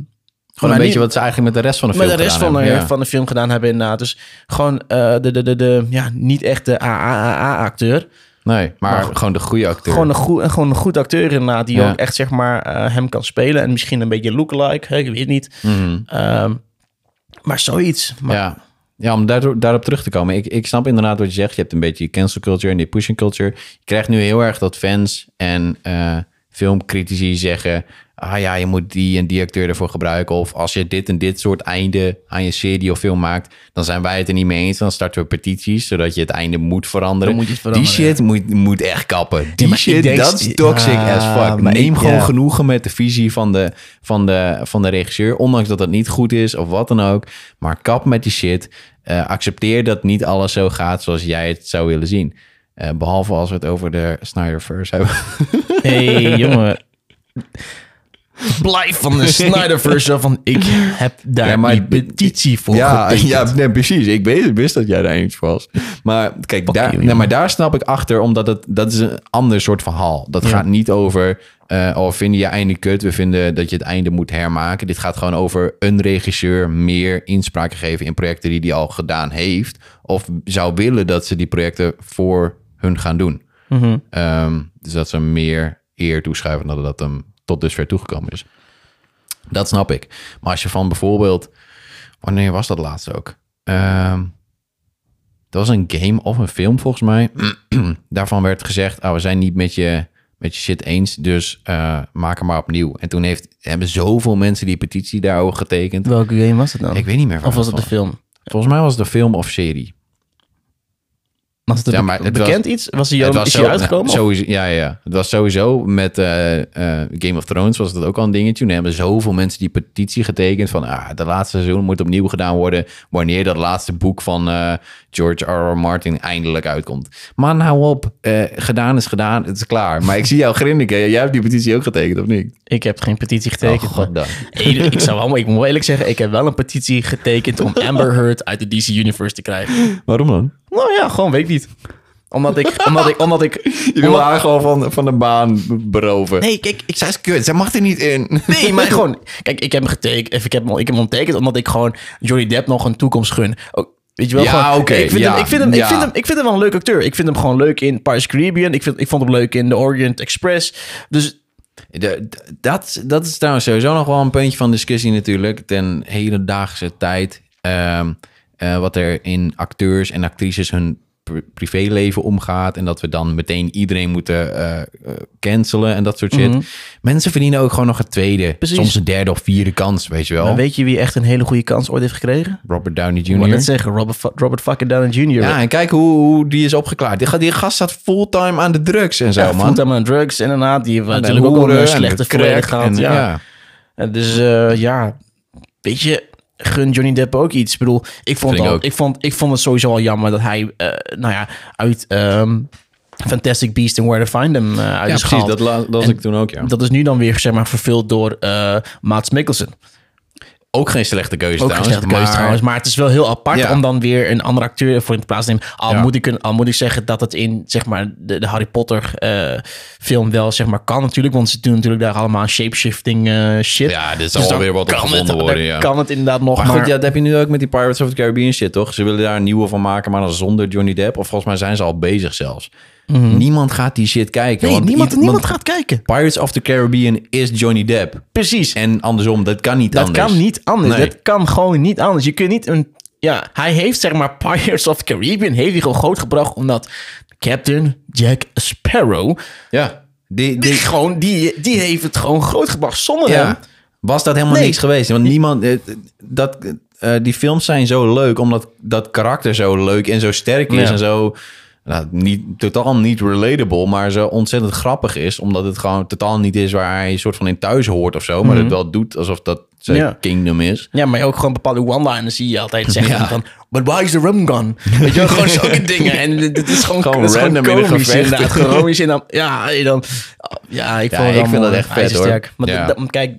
Gewoon een maar niet- beetje wat ze eigenlijk met de rest van de film met de rest gedaan van de, hebben, ja. van de film gedaan hebben inderdaad. Dus gewoon eh, de, de, de, de, ja, niet echt de AAA-acteur. Nee, maar, gewoon de goede acteur. Gewoon, een goe- gewoon een goed acteur inderdaad, die Ja. ook echt zeg maar eh, hem kan spelen. En misschien een beetje lookalike, hè, ik weet niet. Ehm, maar zoiets. [laughs] Maar, ja. ja, om daardoor, daarop terug te komen. Ik, ik snap inderdaad wat je zegt. Je hebt een beetje die cancel culture en die pushing culture. Je krijgt nu heel erg dat fans en eh, filmcritici zeggen... ah ja, je moet die en die acteur ervoor gebruiken. Of als je dit en dit soort einde aan je serie of film maakt... dan zijn wij het er niet mee eens. Dan starten we petities, zodat je het einde moet veranderen. Dan moet je het veranderen, die shit moet, moet echt kappen. Die maar ik shit, denk- dat is toxic Ja, as fuck. maar Neem ik- gewoon ja. genoegen met de visie van de, van, de, van de regisseur. Ondanks dat dat niet goed is of wat dan ook. Maar kap met die shit. Eh, accepteer dat niet alles zo gaat zoals jij het zou willen zien. Eh, behalve als we het over de Snyderverse hebben. hey, jongen. Blijf van de Snyderverse zo van, ik heb daar Ja, maar- die petitie voor getekend. nee, precies. Ik weet- ik wist dat jij daar eens voor was. Maar kijk, daar, you, nee, maar daar snap ik achter, omdat het, dat is een ander soort verhaal. Dat gaat niet over, eh oh, we vinden je einde kut, we vinden dat je het einde moet hermaken. Dit gaat gewoon over een regisseur meer inspraak geven in projecten die hij al gedaan heeft. Of zou willen dat ze die projecten voor hun gaan doen. Mhm. Ehm, dus dat ze hem meer eer toeschrijven dan dat hem tot dusver toegekomen is. Dat snap ik. Maar als je van bijvoorbeeld... Wanneer was dat laatst ook? Ehm, dat was een game of een film volgens mij. [clears throat] Daarvan werd gezegd, ah, we zijn niet met je, met je shit eens, dus eh, maak hem maar opnieuw. En toen heeft, hebben zoveel mensen die petitie daarover getekend. Welke game was het dan? Ik weet niet meer waar of was het het de film? Volgens mij was het een film of serie. Was het, een Ja, be- maar het was- bekend iets? Was hij Het al- was is zo- hij uitgekomen? nou, sowieso, ja, ja, ja. Het was sowieso met eh, eh, Game of Thrones was dat ook al een dingetje. Er hebben zoveel mensen die petitie getekend van... Ah, de laatste seizoen moet opnieuw gedaan worden... wanneer dat laatste boek van eh, George R. R. Martin eindelijk uitkomt. Maar nou op, eh, gedaan is gedaan, het is klaar. Maar ik zie jou grinniken. Jij hebt die petitie ook getekend, of niet? Ik heb geen petitie getekend. Oh, goddank. Hey, [laughs] ik, zou wel, ik moet wel eerlijk zeggen, ik heb wel een petitie getekend om Amber Heard uit de DC Universe te krijgen. Waarom dan? Nou ja, gewoon weet ik niet. Omdat ik, omdat ik, omdat ik... [laughs] Je wil haar gewoon van, van de baan beroven. Nee, kijk, ik Zij is kut, zij mag er niet in. Nee, maar gewoon... Kijk, ik heb hem getekend, of ik heb hem, ik heb hem getekend omdat ik gewoon Johnny Depp nog een toekomst gun. Ook, weet je wel, Ja, gewoon... oké, ik, vind ja, hem, ik, vind hem, ik ja. vind hem Ik vind hem wel een leuk acteur. Ik vind hem gewoon leuk in Pirates Caribbean. Ik, vind, ik vond hem leuk in The Orient Express. Dus De- d- dat, dat is trouwens sowieso nog wel een puntje van discussie natuurlijk. Ten hedendaagse tijd. ehm, eh, wat er in acteurs en actrices hun pri- privéleven omgaat. En dat we dan meteen iedereen moeten eh, eh, cancelen en dat soort shit. Mensen verdienen ook gewoon nog een tweede, Mhm. Precies. soms een derde of vierde kans, weet je wel. maar weet je wie echt een hele goede kans ooit heeft gekregen? Robert Downey Ik wou Jr. net zeggen, Robert, fu- Robert fucking Downey Jr. Ja, en kijk hoe, hoe die is opgeklaard. Die, ga- die gast staat fulltime aan de drugs en zo, Ja, man. fulltime aan drugs en inderdaad, die hebben Aan de natuurlijk ook al hoeren een eh, en slechte de crack verleden gehad. en- Ja. En Dus eh, ja, weet je, gun Johnny Depp ook iets. Ik bedoel, ik vond, Vind ik al, ook. ik vond, ik vond het sowieso al jammer dat hij, eh, nou ja, uit ehm, Fantastic Beast and Where to Find Them eh, uit Ja, is precies. gehaald. Dat, la- dat was En ik toen ook, ja. Dat is nu dan weer, zeg maar, vervuld door eh Maats Mikkelsen. Ook geen slechte keuze Ook een trouwens. slechte keuze maar- trouwens. Maar het is wel heel apart Ja. om dan weer een andere acteur voor in te plaats te nemen. Al, Ja. moet ik, een- al moet ik zeggen dat het in zeg maar, de, de Harry Potter eh, film wel zeg maar, kan natuurlijk. Want ze doen natuurlijk daar allemaal aan shapeshifting eh, shit. Ja, dit dan zal weer wat op kan het- gevonden dan worden. Ja. kan het inderdaad nog. Maar, maar- goed, ja, dat heb je nu ook met die Pirates of the Caribbean shit, toch? Ze willen daar een nieuwe van maken, maar dan zonder Johnny Depp. Of volgens mij zijn ze al bezig zelfs. Niemand gaat die shit kijken. Mhm. nee, want niemand, ied- niemand want gaat kijken. Pirates of the Caribbean is Johnny Depp. Precies. En andersom, dat kan niet Dat anders. kan niet anders. Nee. Dat kan gewoon niet anders. Je kunt niet een... Ja, hij heeft zeg maar Pirates of the Caribbean heeft hij gewoon grootgebracht omdat Captain Jack Sparrow Ja. Die, die, die, gewoon, die, die heeft het gewoon grootgebracht zonder hem. ja. Was dat helemaal Nee. niks geweest? Want niemand... eh, Dat, eh, die films zijn zo leuk, omdat dat karakter zo leuk en zo sterk is Ja. en zo... Nou, niet, totaal niet relatable, maar zo ontzettend grappig is. Omdat het gewoon totaal niet is waar hij soort van in thuis hoort of zo. Maar het wel doet alsof dat zijn Mhm. Ja. kingdom is. Ja, maar ook gewoon bepaalde one-liners zie [laughs] je altijd zeggen van... But why is the rum gone? Weet je wel, gewoon zulke dingen. En dit is gewoon, Gewoon dit is random in een komisch gevecht. inderdaad. Gewoon komisch en dan... Ja, en dan, ja ik, Ja, vond het ik wel vind dat mooi. echt Hij is vet, hoor. sterk. Maar Ja. dat- dat- kijk,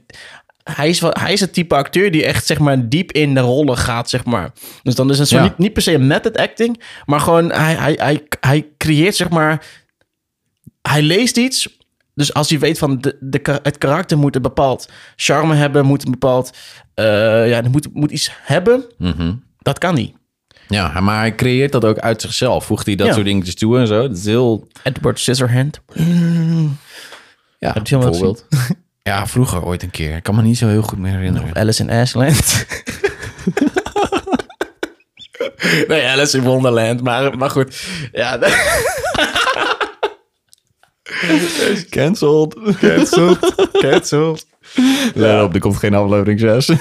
hij is, wel, hij is het type acteur die echt zeg maar diep in de rollen gaat, zeg maar. Dus dan is het zo Ja. niet, niet per se een method acting, maar gewoon hij, hij, hij, hij creëert zeg maar... Hij leest iets... Dus als hij weet van de, de, ka- het karakter moet een bepaald charme hebben, moet een bepaald eh, ja, het moet, moet iets hebben. Dat kan niet. Ja, maar hij creëert dat ook uit zichzelf. Voegt hij dat Ja. soort dingetjes toe en zo. Dat is heel... Edward Scissorhand. Ja, je hem wel bijvoorbeeld. [laughs] Ja, vroeger ooit een keer. Ik kan me niet zo heel goed meer herinneren. Alice in Ashland. [laughs] nee, Alice in Wonderland. Maar, maar goed. Ja, Cancelled. Cancelled. Cancelled. Let op, er komt geen aflevering 6.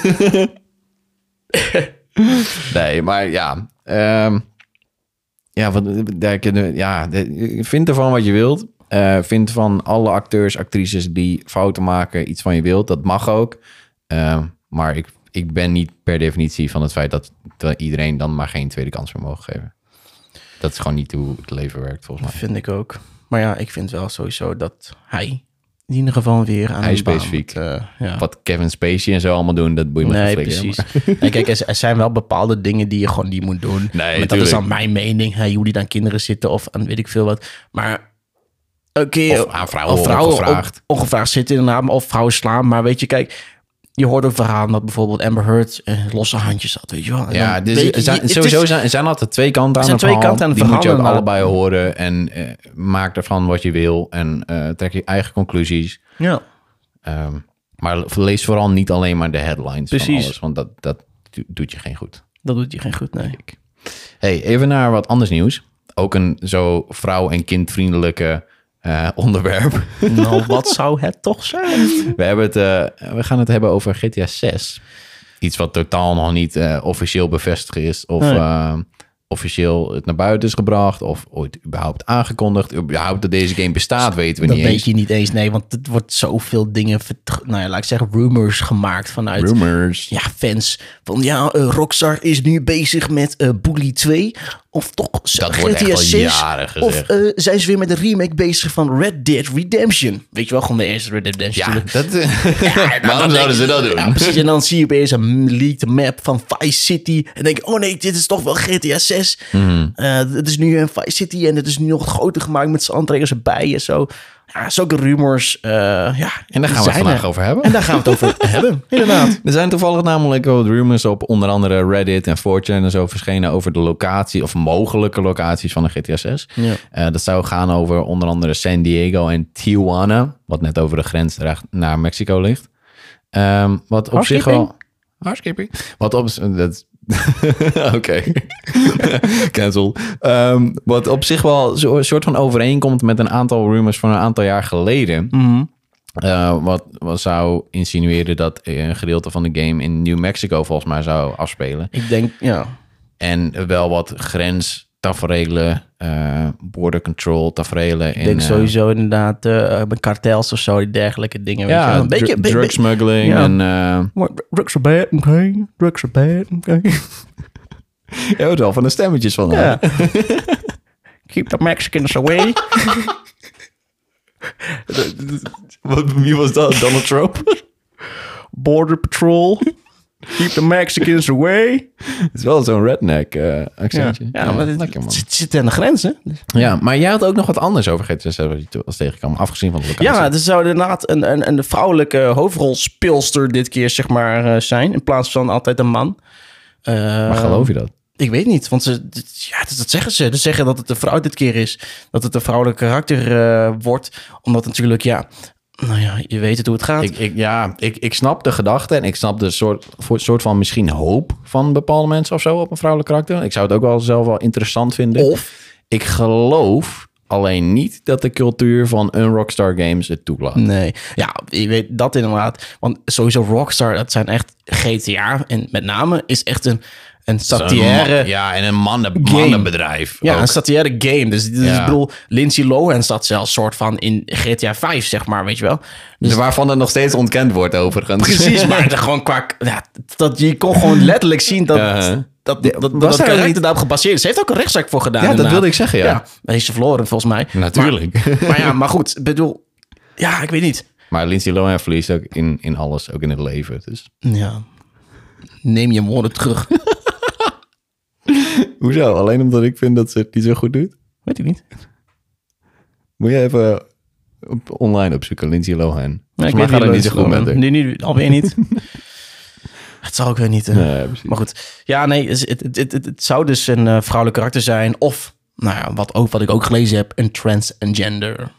[laughs] nee, maar ja. ehm, ja, wat, daar kunnen, ja, de- vind ervan wat je wilt. Eh, vind van alle acteurs, actrices die fouten maken iets van je wilt. Dat mag ook. Ehm, maar ik, ik ben niet per definitie van het feit dat, dat iedereen dan maar geen tweede kans meer mogen geven. Dat is gewoon niet hoe het leven werkt, volgens mij. vind ik ook. Maar ja, ik vind wel sowieso dat hij in ieder geval weer aan Hij de baan specifiek. moet, eh, ja. Wat Kevin Spacey en zo allemaal doen, dat boeit me geen Nee, flikker, precies. En kijk, er er zijn wel bepaalde dingen die je gewoon niet moet doen. Maar dat tuurlijk. is dan mijn mening. Hè, hoe die dan kinderen zitten of aan weet ik veel wat. Maar oké. Of aan vrouwen ongevraagd. on- ongevraagd zitten inderdaad, maar of vrouwen slaan. Maar weet je, kijk, je hoort ook verhalen dat bijvoorbeeld Amber Heard eh, losse handjes had, weet je wel. En Ja, dan dus weet je- er zijn- het is- sowieso zijn, zijn altijd twee kanten aan zijn het twee verhaal. kanten aan het Die moet je verhaal, ook inderdaad. allebei horen. En eh, maak ervan wat je wil. En eh, trek je eigen conclusies. Ja, Ehm, maar lees vooral niet alleen maar de headlines van Precies. alles. Want dat, dat do- doet je geen goed. dat doet je geen goed, nee. Hey, even naar wat anders nieuws. Ook een zo vrouw- en kindvriendelijke eh, [laughs] onderwerp. nou, [laughs] wat zou het toch zijn? We, hebben het, eh, we gaan het hebben over GTA 6. Iets wat totaal nog niet eh, officieel bevestigd is. Of Nee. eh, officieel het naar buiten is gebracht. Of ooit überhaupt aangekondigd. Überhaupt dat deze game bestaat, weten we Dat niet weet eens. je niet eens, nee, want het wordt zoveel dingen, vert- nou ja, laat ik zeggen, rumors gemaakt vanuit... Rumors. ja, fans van ja, eh, Rockstar is nu bezig met eh Bully 2 of toch Dat wordt echt GTA al 6 jaren of gezegd. eh, zijn ze weer met een remake bezig van Red Dead Redemption. Weet je wel, gewoon de eerste Red Dead Redemption. Ja, natuurlijk. dat, [laughs] dan waarom nou, denk zouden ze ik- dat doen? Ja, precies. En dan zie je opeens een leaked map van Vice City. En denk ik, oh nee, dit is toch wel GTA 6. Hmm. Eh, het is nu een Vice City en het is nu nog groter gemaakt met z'n aantrekkers erbij en zo. Ja, zulke rumors. eh, ja, en daar gaan we het zijn er. vandaag over hebben. En daar gaan we het over [laughs] hebben, inderdaad. Er zijn toevallig namelijk wat rumors op onder andere Reddit en 4chan en zo verschenen over de locatie of mogelijke locaties van een GTA 6. Ja. Eh, dat zou gaan over onder andere San Diego en Tijuana, wat net over de grens recht naar Mexico ligt. Ehm, wat op zich wel... Housekeeping. Wat op... Dat... [laughs] Oké. [laughs] Cancel. Ehm, wat op zich wel zo- een soort van overeenkomt met een aantal rumors van een aantal jaar geleden. Eh, wat, wat zou insinueren dat eh, een gedeelte van de game in New Mexico volgens mij zou afspelen. Ik denk, ja. En wel wat grens tafereelen, eh, border control tafereelen. eh, Ik denk sowieso inderdaad eh, met kartels of zo, die dergelijke dingen. weet je ja, wel. een beetje, dru- drug smuggling ja. en... eh, beetje- Drugs are bad, oké. Drugs are bad, oké. Je houdt wel van de stemmetjes van haar. Ja. [laughs] Keep the Mexicans away. Wat, wie was dat? Donald Trump? [laughs] Border patrol. Keep the Mexicans away. [laughs] Het is wel zo'n redneck eh, Ja, accentje. ja, maar het, lekker man. Dus het zit- zit aan de grens, hè? Ja, maar jij had ook nog wat anders over GTS wat je toen als tegenkwam, afgezien van de locatie. Ja, er zou inderdaad een, een, een vrouwelijke hoofdrolspeelster dit keer zeg maar, eh, zijn. In plaats van altijd een man. Eh, maar geloof je dat? Ik weet niet, want ze, dit- ja, dat, dat zeggen ze. Ze zeggen dat het een vrouw dit keer is. Dat het een vrouwelijk karakter eh, wordt. Omdat natuurlijk, ja... Nou ja, je weet het hoe het gaat. Ik, ik, ja, ik, ik snap de gedachte en ik snap de soort, voor- soort van misschien hoop van bepaalde mensen of zo op een vrouwelijk karakter. Ik zou het ook wel zelf wel interessant vinden. Of? Ik geloof alleen niet dat de cultuur van een Rockstar Games het toelaat. Nee. Ja, je weet dat inderdaad. Want sowieso Rockstar, dat zijn echt GTA. En met name is echt een, een satire... Zo'n ma- Ja, en een mannen, game. mannenbedrijf. Ja, ook. een satire game. Dus, dus Ja. ik bedoel, Lindsay Lohan zat zelfs soort van in GTA 5, zeg maar, weet je wel. Dus waarvan het nog steeds ontkend wordt overigens. [laughs] Precies, maar dat gewoon qua... Ja, dat, je kon gewoon letterlijk zien dat... Ja, hè? Dat, dat, dat, Was dat, daar karakter niet- daarop gebaseerd is. Ze heeft ook een rechtszaak voor gedaan. Ja, dat inderdaad. wilde ik zeggen, ja. maar die is ze verloren, volgens mij. Natuurlijk. [laughs] Maar, maar ja, maar goed, ik bedoel... Ja, ik weet niet. Maar Lindsay Lohan verliest ook in, in alles, ook in het leven. Dus. Ja. Neem je [laughs] woorden terug. Hoezo? Alleen omdat ik vind dat ze het niet zo goed doet? weet ik niet. Moet je even op- online opzoeken, Lindsay Lohan. Nee, Volgens ik mij weet gaat het niet zo goed met haar. Nu, nu alweer [laughs] niet. Het zal ook weer niet. hè. Nee, precies. Maar goed, ja, nee, dus het, het, het, het, het zou dus een eh, vrouwelijk karakter zijn. Of, nou ja, wat, ook, wat ik ook gelezen heb, een transgender.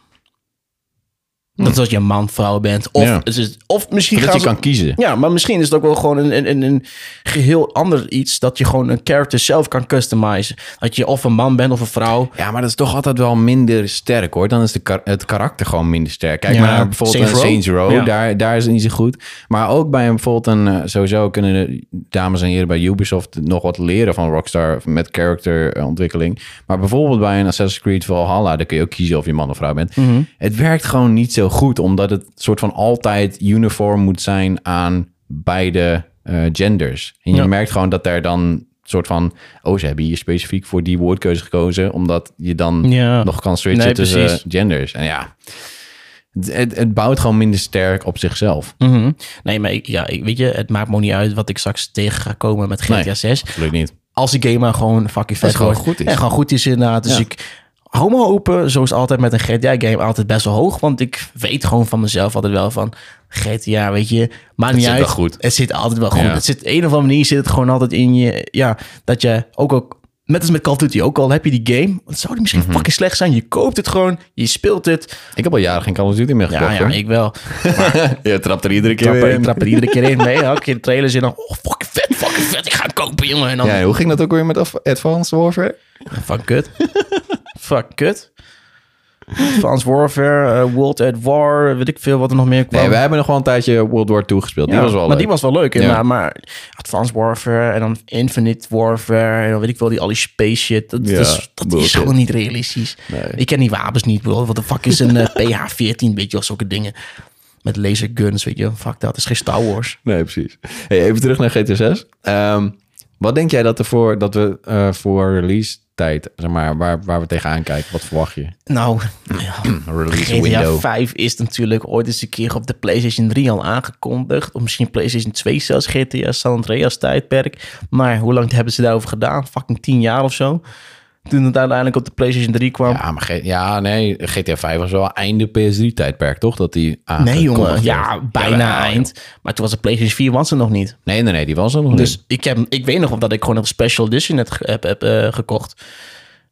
Dat is als je een man, vrouw bent. Of, Hm. Ja. het is, of misschien Dat gaan je ze- kan kiezen. Ja, maar misschien is het ook wel gewoon een, een, een, een geheel ander iets. Dat je gewoon een character zelf kan customizen. Dat je of een man bent of een vrouw. Ja, maar dat is toch altijd wel minder sterk hoor. Dan is de kar- het karakter gewoon minder sterk. Kijk Ja, maar naar bijvoorbeeld Saints Saints, Row. Saints Row. Ja. Daar, daar is het niet zo goed. Maar ook bij een, bijvoorbeeld een... eh, Sowieso kunnen de dames en heren bij Ubisoft nog wat leren van Rockstar... met characterontwikkeling. Maar bijvoorbeeld bij een Assassin's Creed Valhalla... daar kun je ook kiezen of je man of vrouw bent. Mhm. Het werkt gewoon niet zo goed. Omdat het soort van altijd uniform moet zijn aan beide eh, genders. En je Ja. merkt gewoon dat daar dan... Soort van, oh, ze hebben hier specifiek voor die woordkeuze gekozen, omdat je dan Ja. nog kan switchen Nee, tussen precies. genders. En ja, het, het, het bouwt gewoon minder sterk op zichzelf. Mhm. Nee, maar ik- ja, ik, weet je, het maakt me ook niet uit wat ik straks tegen ga komen met GTA Nee. 6. Absoluut niet. als die game maar gewoon fucking vet het gewoon wordt. goed is. En gewoon goed is inderdaad. Dus Ja. ik hou me open, zoals altijd met een GTA-game, altijd best wel hoog. Want ik weet gewoon van mezelf altijd wel van... GTA, weet je, maakt niet zit uit. wel goed. Het zit altijd wel goed. Ja. Het zit, op een of andere manier zit het gewoon altijd in je... Ja, dat je ook ook... Net als met Call of Duty, ook al heb je die game. Het zou die misschien Mhm. fucking slecht zijn. Je koopt het gewoon, je speelt het. Ik heb al jaren geen Call of Duty meer Ja, gekocht. ja, hoor. [laughs] ik wel. Je trapt er iedere keer Ik trap, weer er- in. ik trap er iedere keer in. Nee, elke keer de trailers in. dan, Oh, fucking vet, fucking vet. Ik ga het kopen, jongen. En dan, Ja, hoe ging dat ook weer met Af- Advanced Warfare? Fuck kut. [laughs] Fuck kut. Advanced Warfare, eh, World at War, weet ik veel wat er nog meer kwam. Nee, wij hebben nog wel een tijdje World War II gespeeld. Ja, die was wel maar die was wel leuk, Ja. inderdaad. Maar Advanced Warfare en dan Infinite Warfare en dan weet ik wel, die, al die space shit. Dat, Ja, dat is, dat is bullshit. gewoon niet realistisch. Ik ken die wapens niet, bro. Wat de fuck is een eh, [laughs] PH-14, weet je, of zulke dingen. Met laser guns, weet je. Fuck dat, is geen Star Wars. Nee, precies. Hey, even terug naar GT 6. Ehm, wat denk jij dat, er voor, dat we eh, voor release tijd, zeg maar, waar, waar we tegenaan kijken? Wat verwacht je? Nou, ja. Release GTA window. 5 is natuurlijk ooit eens een keer op de PlayStation 3 al aangekondigd. Of misschien PlayStation 2 zelfs, GTA San Andreas tijdperk. Maar hoe lang hebben ze daarover gedaan? Fucking 10 jaar of zo. Toen het uiteindelijk op de PlayStation 3 kwam. Ja, maar G- ja, nee, GTA 5 was wel einde PS3-tijdperk, toch? Dat die aangekondigd nee jongen, werd. ja, bijna Jawel. eind. Maar toen was de PlayStation 4 was er nog niet. Nee, nee, nee, die was er nog niet. Dus ik, heb, ik weet nog dat ik gewoon een special edition net ge- heb, heb eh, gekocht.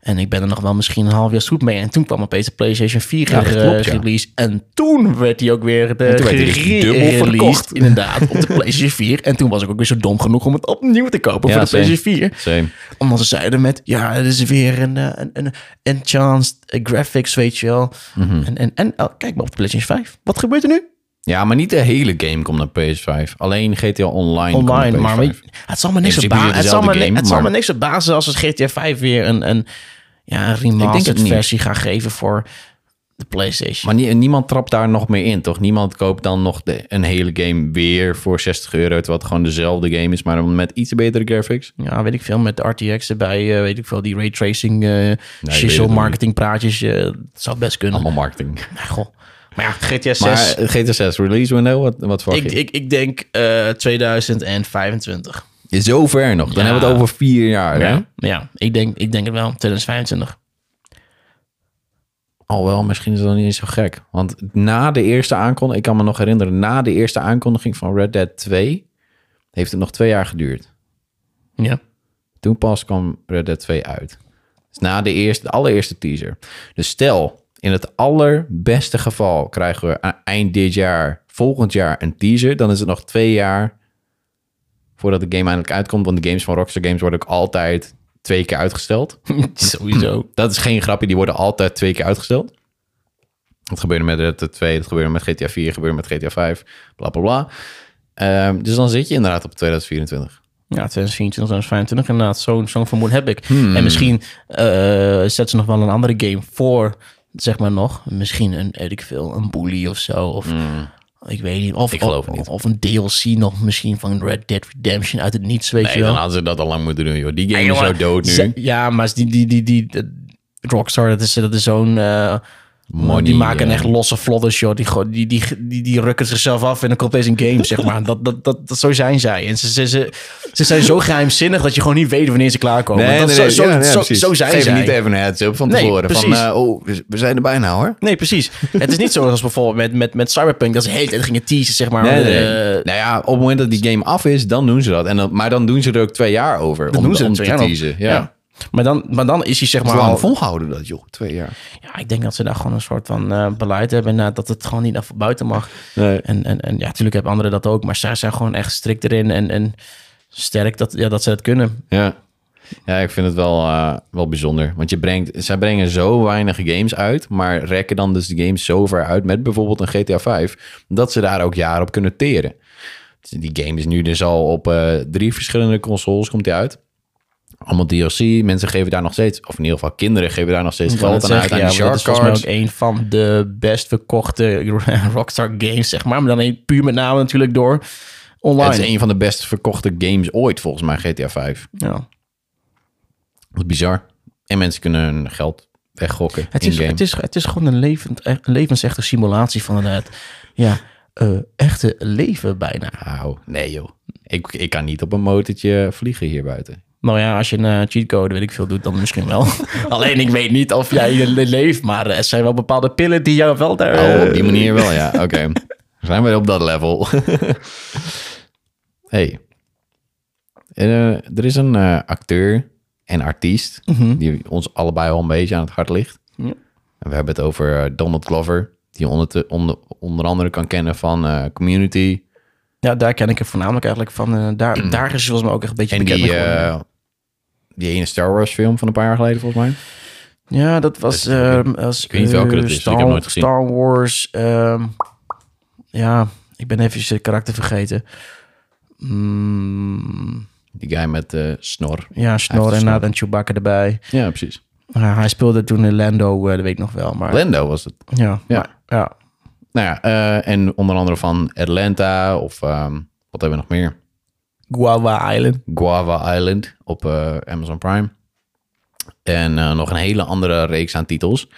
En ik ben er nog wel misschien een half jaar zoet mee. En toen kwam opeens de PlayStation 4 Ja, dat eh, klopt, ja. release. En toen werd die ook weer de En toen werd die dus dubbel verkocht. [laughs] Inderdaad, op de PlayStation 4. En toen was ik ook weer zo dom genoeg om het opnieuw te kopen Ja, voor de same. PlayStation 4. Same. Omdat ze zeiden met, ja, het is weer een, eh, een, een enhanced eh, graphics, weet je wel. Mhm. En, en, en oh, kijk maar op de PlayStation 5. Wat gebeurt er nu? Ja, maar niet de hele game komt naar PS5. Alleen GTA Online. komt online. naar Maar PS5. weet je, het zal me niks In principe verbazen. Het, zal me, dezelfde ni- game, het zal me maar- niks verbazen als het GTA 5 weer een, een, ja, een Ik denk remastered het niet. versie gaan geven voor de PlayStation. maar nie- niemand trapt daar nog meer in, toch? Niemand koopt dan nog de, een hele game weer voor 60 euro. Terwijl het gewoon dezelfde game is, maar dan met iets betere [laughs] graphics. ja, weet ik veel. Met de RTX erbij, eh, weet ik veel. Die raytracing, eh weet het shizzle nog marketing praatjes. eh, het zou best kunnen. Allemaal marketing. Maar goh, Maar ja, GTA 6. Oh. Maar GTA 6 release window, wat, wat verwacht ik, je? ik, ik denk eh 2025. Zo ver nog. Dan Ja. hebben we het over vier jaar. Hè? Ja, ja ik, denk, ik denk het wel. 2025. Alhoewel, misschien is dat niet eens zo gek. Want na de eerste aankondiging, ik kan me nog herinneren, na de eerste aankondiging van Red Dead 2, heeft het nog twee jaar geduurd. Ja. [laughs] Toen pas kwam Red Dead 2 uit. Dus na de, eerste, de allereerste teaser. Dus stel, in het allerbeste geval krijgen we a- eind dit jaar, volgend jaar een teaser. Dan is het nog twee jaar voordat de game eindelijk uitkomt. Want de games van Rockstar Games worden ook altijd twee keer [laughs] uitgesteld. Sowieso. Dat is geen grapje, die worden altijd twee keer uitgesteld. Dat gebeurde met Red Dead 2, dat gebeurde met GTA 4, gebeurde met GTA 5, bla bla bla. Ehm, dus dan zit je inderdaad op 2024. Ja, 2024, 2025 inderdaad. Zo'n zo'n vermoeden heb ik. Hmm. En misschien eh zet ze nog wel een andere game voor, zeg maar nog. Misschien een, weet ik veel, een bully of zo. Of ik weet niet. Of, Hmm. Ik geloof of, het niet. Of een DLC nog misschien van Red Dead Redemption uit het niets, weet je Nee, wel. dan hadden ze dat al lang moeten doen, joh. Die game Ja, is jongen, zo dood nu. ze- ja, maar die, die, die, die, dat- Rockstar, dat is, dat is zo'n... eh, Money, die maken eh. echt losse vlodders, joh. Die, go- die, die, die, die rukken zichzelf af en dan komt deze een game, zeg maar. Dat, dat, dat, dat, zo zijn zij. En ze, ze, ze, ze zijn zo geheimzinnig dat je gewoon niet weet wanneer ze klaarkomen. dat, zo, zo, ja, ja, zo, precies. zo zijn Geef zij. niet even een heads-up van Nee, tevoren. van, precies. eh, oh, we we zijn er bijna hoor. Nee, precies. Het is niet zoals bijvoorbeeld met, met, met Cyberpunk. Dat ze de hele tijd gingen teasen, zeg maar. Nee, nee, Eh, nee. nou ja, op het moment dat die game af is, dan doen ze dat. En dan, maar dan doen ze er ook twee jaar over. dat om, doen ze om twee te jaar nog. teasen. Ja. Ja. Maar, dan, maar dan is hij zeg maar Maar al... lang volhouden dat, joh. Twee jaar. Ja, ik denk dat ze daar gewoon een soort van eh, beleid hebben. eh, dat het gewoon niet naar buiten mag. Nee. En, en, en ja, natuurlijk hebben anderen dat ook. Maar zij zijn gewoon echt strikt erin. En, en sterk dat, ja, dat ze dat kunnen. Ja. Ja, ik vind het wel, eh, wel bijzonder. Want je brengt, zij brengen zo weinig games uit, maar rekken dan dus de games zo ver uit met bijvoorbeeld een GTA 5, dat ze daar ook jaren op kunnen teren. Dus Die game is nu dus al op eh, drie verschillende consoles komt die uit. Allemaal DLC, mensen geven daar nog steeds, of in ieder geval kinderen geven daar nog steeds Ik wou geld net aan uit, zeggen, aan ja, die want dat shark is volgens mij cards. ook een van de best verkochte [laughs] Rockstar games, zeg maar. Maar dan een- puur met name natuurlijk door Het online. is een van de best verkochte games ooit, volgens mij, GTA 5. Ja. Dat is bizar. En mensen kunnen hun geld weggokken Het, in is, game. het, is, het is gewoon een, levend, een levensechte simulatie van het ja, eh, echte leven bijna. Au, nee joh. Ik, ik kan niet op een motortje vliegen hier buiten. Nou ja, als je een eh, cheatcode, weet ik veel, doet, dan misschien wel. [laughs] Alleen ik weet niet of jij je le- leeft, maar eh, er zijn wel bepaalde pillen die jou wel daar... Oh, op eh, die manier wel, ja. [laughs] Oké. Zijn we op dat level. [laughs] hey. Eh, er is een eh, acteur en artiest die ons allebei al een beetje aan het hart ligt. Ja. En we hebben het over eh, Donald Glover, die je onder, te- onder, onder andere kan kennen van eh, Community. Ja, daar ken ik het voornamelijk eigenlijk van. eh, daar, daar is volgens mij ook echt een beetje Mm. En bekend die, mee geworden. eh, die ene Star Wars film van een paar jaar geleden, volgens mij. Ja, dat was... dat is- ehm, als, ik weet niet welke eh, dat is, ik Star, heb nooit gezien. Star Wars. ehm, ja, ik ben even zijn karakter vergeten. Mm, Die guy met eh, snor. ja, Snor een en snor. Naad en Chewbacca erbij. Ja, precies. Ja, hij speelde toen in Lando, eh, dat weet ik nog wel. Maar, Lando was het. ja, Ja. maar- ja. Nou ja, eh, en onder andere van Atlanta of ehm, wat hebben we nog meer? Guava Island. Guava Island op eh, Amazon Prime. En eh, nog een hele andere reeks aan titels.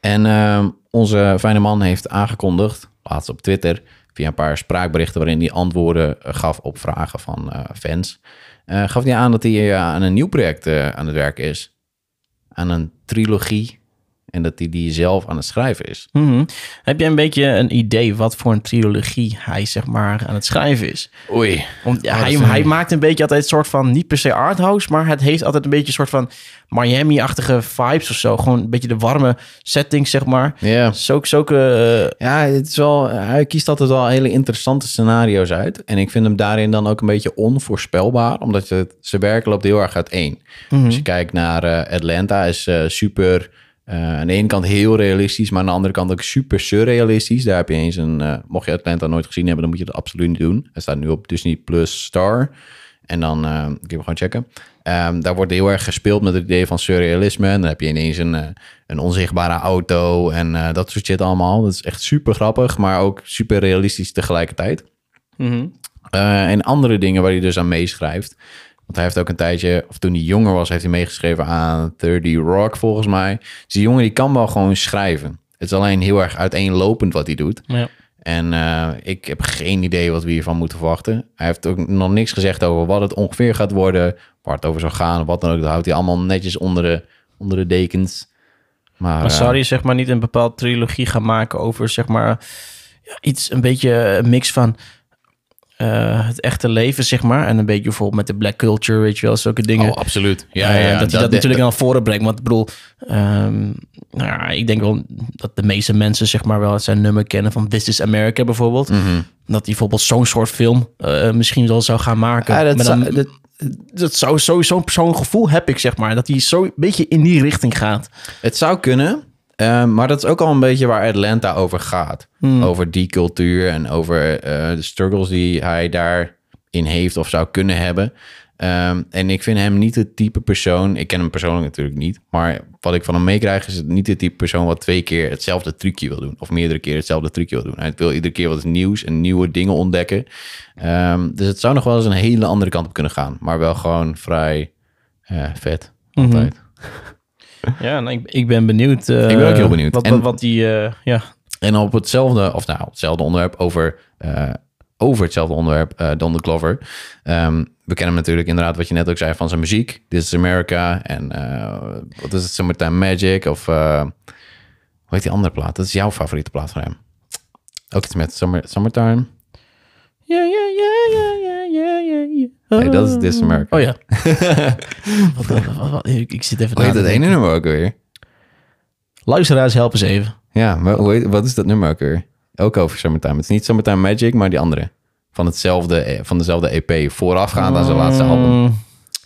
En ehm, onze fijne man heeft aangekondigd, laatst op Twitter, via een paar spraakberichten waarin hij antwoorden eh, gaf op vragen van eh, fans, eh, gaf hij aan dat hij eh, aan een nieuw project eh, aan het werk is. Aan een trilogie. En dat hij die zelf aan het schrijven is. Mhm. Heb jij een beetje een idee wat voor een trilogie hij zeg maar aan het schrijven is? Oei. Want Oh, dat hij, is een- hij maakt een beetje altijd een soort van, niet per se arthouse, maar het heeft altijd een beetje een soort van Miami-achtige vibes of zo. Gewoon een beetje de warme setting, zeg maar. Ja. Zulke, zulke, Ja, het is wel, hij kiest altijd wel hele interessante scenario's uit. En ik vind hem daarin dan ook een beetje onvoorspelbaar, omdat je het, zijn werk loopt heel erg uiteen. Als je kijkt naar eh, Atlanta, is eh, super. eh, aan de ene kant heel realistisch, maar aan de andere kant ook super surrealistisch. Daar heb je eens een. eh, mocht je Atlanta nooit gezien hebben, dan moet je dat absoluut niet doen. Hij staat nu op Disney Plus Star. En dan eh, kun je hem gewoon checken. Ehm, daar wordt heel erg gespeeld met het idee van surrealisme. En dan heb je ineens een, eh, een onzichtbare auto en eh, dat soort shit allemaal. Dat is echt super grappig, maar ook super realistisch tegelijkertijd. eh, Eh, en andere dingen waar hij dus aan meeschrijft. Want hij heeft ook een tijdje, of toen hij jonger was, heeft hij meegeschreven aan 30 Rock volgens mij. Dus die jongen die kan wel gewoon schrijven. Het is alleen heel erg uiteenlopend wat hij doet. Ja. En eh, ik heb geen idee wat we hiervan moeten verwachten. Hij heeft ook nog niks gezegd over wat het ongeveer gaat worden. Waar het over zou gaan, wat dan ook. Dat houdt hij allemaal netjes onder de, onder de dekens. Maar, Maar eh, zou je zeg maar niet een bepaalde trilogie gaan maken over zeg maar ja, iets een beetje een mix van eh, het echte leven zeg maar en een beetje bijvoorbeeld met de black culture weet je wel zulke dingen. oh, absoluut. Ja, Eh, ja, ja, dat hij dat, natuurlijk aan voren brengt. Want ik bedoel, ehm, nou ja, ik denk wel dat de meeste mensen zeg maar wel zijn nummer kennen van This is America bijvoorbeeld. Mhm. Dat hij bijvoorbeeld zo'n soort film eh, misschien wel zou gaan maken. Ja, dat Maar zou- dat- dat zou sowieso zo'n gevoel heb ik zeg maar. Dat hij zo een beetje in die richting gaat. Het zou kunnen, eh, maar dat is ook al een beetje waar Atlanta over gaat. Over die cultuur en over eh, de struggles die hij daarin heeft of zou kunnen hebben. Ehm, en ik vind hem niet het type persoon. Ik ken hem persoonlijk natuurlijk niet. Maar wat ik van hem meekrijg is het niet het type persoon wat twee keer hetzelfde trucje wil doen. Of meerdere keer hetzelfde trucje wil doen. Hij wil iedere keer wat nieuws en nieuwe dingen ontdekken. Ehm, dus het zou nog wel eens een hele andere kant op kunnen gaan. Maar wel gewoon vrij eh, vet. Altijd. Ja, nou, ik, ik ben benieuwd. eh, Ik ben ook heel benieuwd. Wat, En- wat, wat die, eh, ja. En op hetzelfde, of nou, hetzelfde onderwerp over, eh, over hetzelfde onderwerp, eh Donald Glover. Ehm, we kennen hem natuurlijk inderdaad, wat je net ook zei, van zijn muziek. This is America en eh, wat is het, Summertime Magic of... eh, hoe heet die andere plaat? Dat is jouw favoriete plaat van hem. Ook iets met summer, Summertime. Ja, ja, ja, ja, ja, ja, ja, ja. Nee, dat is This is America. [laughs] Oh ja. wat, wat, wat, wat- ik, ik zit even Hoe na heet te dat ene denken. nummer ook weer? Luisteraars, help eens even. Ja, maar hoe heet- wat is dat nummer ook weer? Ook over Summertime. Het is niet Summertime Magic, maar die andere. Van, hetzelfde, eh, van dezelfde EP, voorafgaand aan zijn laatste album. Mm,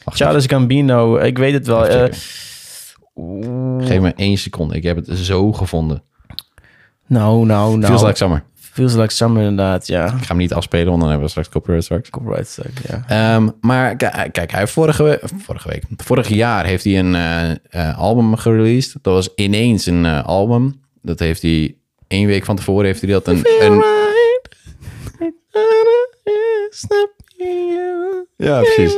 Wacht Charles Gambino, ik weet het wel. Even eh, checken. Geef me één seconde. Ik heb het zo gevonden. nou, nou, nou. Feels like summer. Feels like summer, inderdaad, ja. Ik ga hem niet afspelen, want dan hebben we straks copyright straks. Copyright strike, ja. Ehm, maar k- kijk, hij heeft vorige, we- vorige week, vorig jaar heeft hij een eh, eh, album gereleased. Dat was ineens een eh, album. Dat heeft hij één week van tevoren heeft hij dat een, een ja precies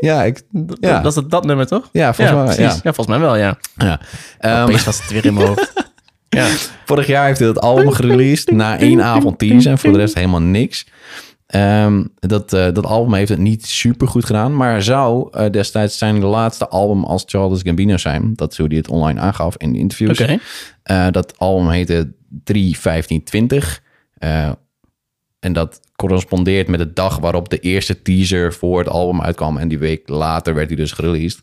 ja ik ja Dat is dat, dat nummer, toch? ja volgens mij precies. ja, Ja. volgens mij wel, ja. ja. Ehm, Opeens was het weer in mijn hoofd. [laughs] ja. Vorig jaar heeft hij dat album gereleased. Na één avond teasen en voor de rest helemaal niks. Ehm, dat, eh, dat album heeft het niet super goed gedaan. Maar zou eh, destijds zijn laatste album als Charles Gambino zijn. Dat is hoe hij het online aangaf in interviews. Oké. Eh, dat album heette 31520. Eh en dat correspondeert met de dag waarop de eerste teaser voor het album uitkwam. En die week later werd hij dus gereleased.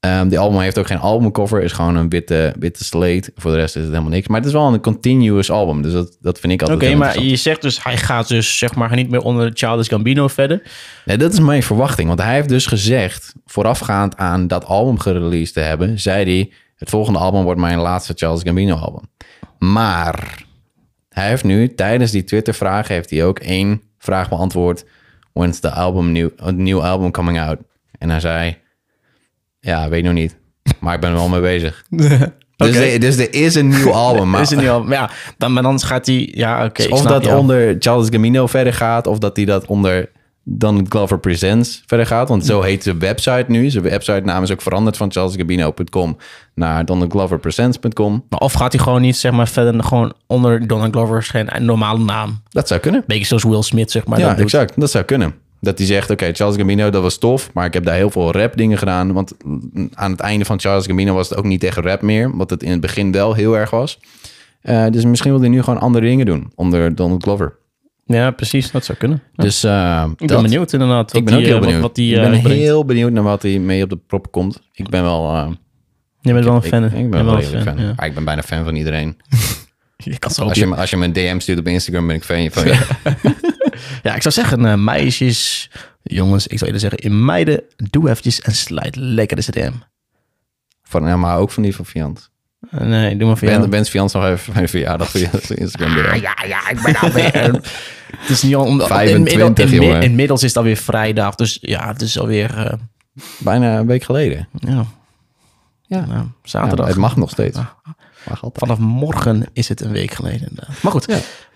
Ehm, die album heeft ook geen albumcover. Is gewoon een witte, witte slate. Voor de rest is het helemaal niks. Maar het is wel een continuous album. Dus dat, dat vind ik Oké, altijd heel maar interessant. je zegt dus, hij gaat dus zeg maar niet meer onder Charles Gambino verder. Nee, dat is mijn verwachting. Want hij heeft dus gezegd, voorafgaand aan dat album gereleased te hebben... zei hij, het volgende album wordt mijn laatste Charles Gambino album. Maar hij heeft nu tijdens die Twitter-vraag... heeft hij ook één vraag beantwoord. When's the album new, a new album coming out? En hij zei, ja, weet nog niet. Maar ik ben er wel mee [laughs] bezig. dus, Oké. er, dus er is een nieuw [laughs] album. Maar Dus Is het niet al? Ja, dan, maar dan gaat hij... Ja, oké. ik of snap dat jou. onder Charles Gamino verder gaat, of dat hij dat onder Donald Glover Presents verder gaat. Want Hm. zo heet zijn website nu. Zijn website naam is ook veranderd van charlesgamino.com naar donaldgloverpresents.com. Maar Of gaat hij gewoon niet zeg maar verder dan gewoon onder Donald Glover geen normale naam. Dat zou kunnen. Beetje zoals Will Smith zeg maar. ja, dat doet. exact. Dat zou kunnen. Dat hij zegt, oké, Charles Gambino, dat was tof, maar ik heb daar heel veel rap dingen gedaan. Want mm, aan het einde van Charles Gambino was het ook niet echt rap meer, wat het in het begin wel heel erg was. Eh, dus misschien wil hij nu gewoon andere dingen doen onder Donald Glover. Ja, precies. Dat zou kunnen. Ja. Dus eh, ik ben dat- benieuwd inderdaad. wat Ik ben die, ook heel eh, wat- benieuwd. Wat, die, ik eh, ben brengt. heel benieuwd naar wat hij mee op de prop komt. Ik ben wel... eh, Je bent wel een ik, fan. ik Je ben bent wel redelijk fan. ja. Ah, ik ben bijna fan van iedereen. Ik had zo Als je, me- als je me een DM stuurt op Instagram, ben ik fan van [laughs] je. Ja, ik zou zeggen, eh, meisjes, jongens, ik zou eerder zeggen, in meiden, doe eventjes en sluit lekker de CDM. van, ja, maar ook van die van Fiant. Eh, Nee, doe maar voor jou. Ben, Ben's Fiant nog even van mijn verjaardag [laughs] voor je Instagram Ah, DM. ja, ja, ik [laughs] ben [laughs] alweer. het is niet al om, 25, inmiddel- inmi- jongen. Inmiddels is het alweer vrijdag, dus ja, het is alweer eh, Bijna een week geleden. ja, Ja. nou, Ja, zaterdag. het mag nog steeds. Ah. Mag altijd. Vanaf morgen is het een week geleden. inderdaad. Maar goed,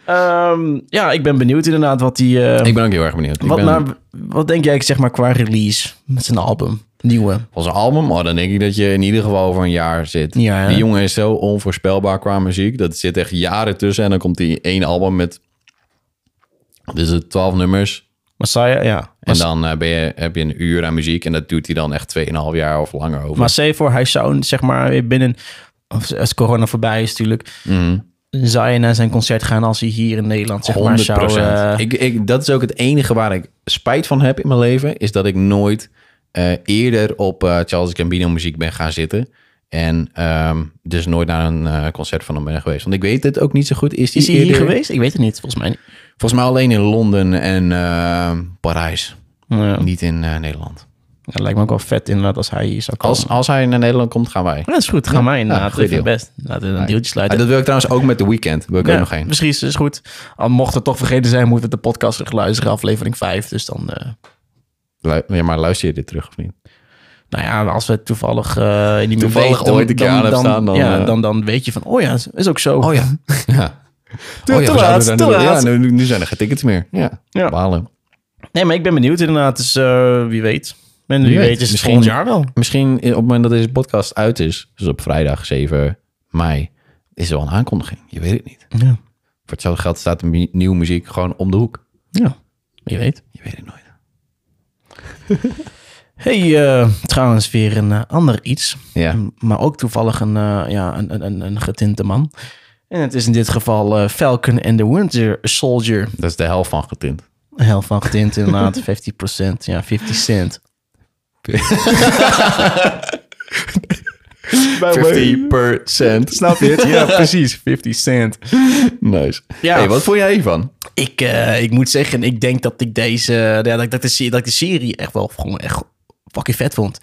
ja, ja ik ben benieuwd inderdaad wat die. eh, Ik ben ook heel erg benieuwd. Ik wat, ben, naar- wat denk jij, zeg maar, qua release met zijn album? Nieuwe. van zijn album. Oh, dan denk ik dat je in ieder geval over een jaar zit. Ja, hè? die jongen is zo onvoorspelbaar qua muziek. Dat zit echt jaren tussen. En dan komt hij één album met... wat is het 12 nummers. Messiah, ja. En dan eh, ben je, heb je een uur aan muziek. En dat doet hij dan echt 2,5 jaar of langer over. Maar stel je voor, hij zou zeg maar weer binnen... Of als corona voorbij is natuurlijk... Mhm. Zou je naar zijn concert gaan als hij hier in Nederland zeg maar 100 zou... eh, ik, ik, dat is ook het enige waar ik spijt van heb in mijn leven. Is dat ik nooit eh, eerder op eh, Charles Gambino muziek ben gaan zitten. En ehm, dus nooit naar een eh, concert van hem ben geweest. Want ik weet het ook niet zo goed. Is, die is hij hier eerder- geweest? Ik weet het niet, volgens mij niet. Volgens mij alleen in Londen en ehm, Parijs. Ja. Niet in eh, Nederland. Ja, lijkt me ook wel vet inderdaad als hij hier zou komen. Als, als hij naar Nederland komt, gaan wij. Ja, dat is goed. Gaan wij inderdaad. goed Even deal. best. Laten we een deeltje Ah, sluiten. dat wil ik trouwens ook met The Weeknd. Wil ik ook nog Ja, één. Misschien is is goed. Al mocht het toch vergeten zijn, moet het de podcast terug luisteren. Aflevering 5. Dus dan... eh, Lu- Ja, maar luister je dit terug of niet? nou ja, als we toevallig eh in die Toevallig week dan- ooit een keer dan- aan hebben staan, dan, ja, eh, dan, dan weet je van, oh ja, is- is ook zo. Oh [laughs] ja. ja. Te- Oh ja, te we zouden laat, daar te nu- laat. Ja, nu, nu zijn er geen tickets meer. Ja, Ja. balen. Nee, maar ik ben benieuwd inderdaad. Dus eh, wie weet. En weet. wie, weet, is het Misschien- volgend jaar wel. Misschien op het moment dat deze podcast uit is, dus op vrijdag 7 mei, is er wel een aankondiging. Je weet het niet. Ja. Voor hetzelfde geld staat de mu- nieuwe muziek gewoon om de hoek. ja, wie weet. Je weet het nooit. hey, eh, trouwens weer een eh, ander iets. Ja. M- Maar ook toevallig een, eh, ja, een, een- een, een getinte man. En het is in dit geval eh, Falcon and the Winter Soldier. Dat is de helft van getint. Een helft van getint inderdaad, 50%. Ja, 50 cent. 50%. Snap je het? [laughs] Ja, precies. 50 cent. [laughs] Nice. Ja. Hey, wat vond jij hiervan? Ik, eh, ik moet zeggen, ik denk dat ik deze... eh, Ja, dat, ik- dat, de, se- dat ik de serie echt wel gewoon echt fucking vet vond.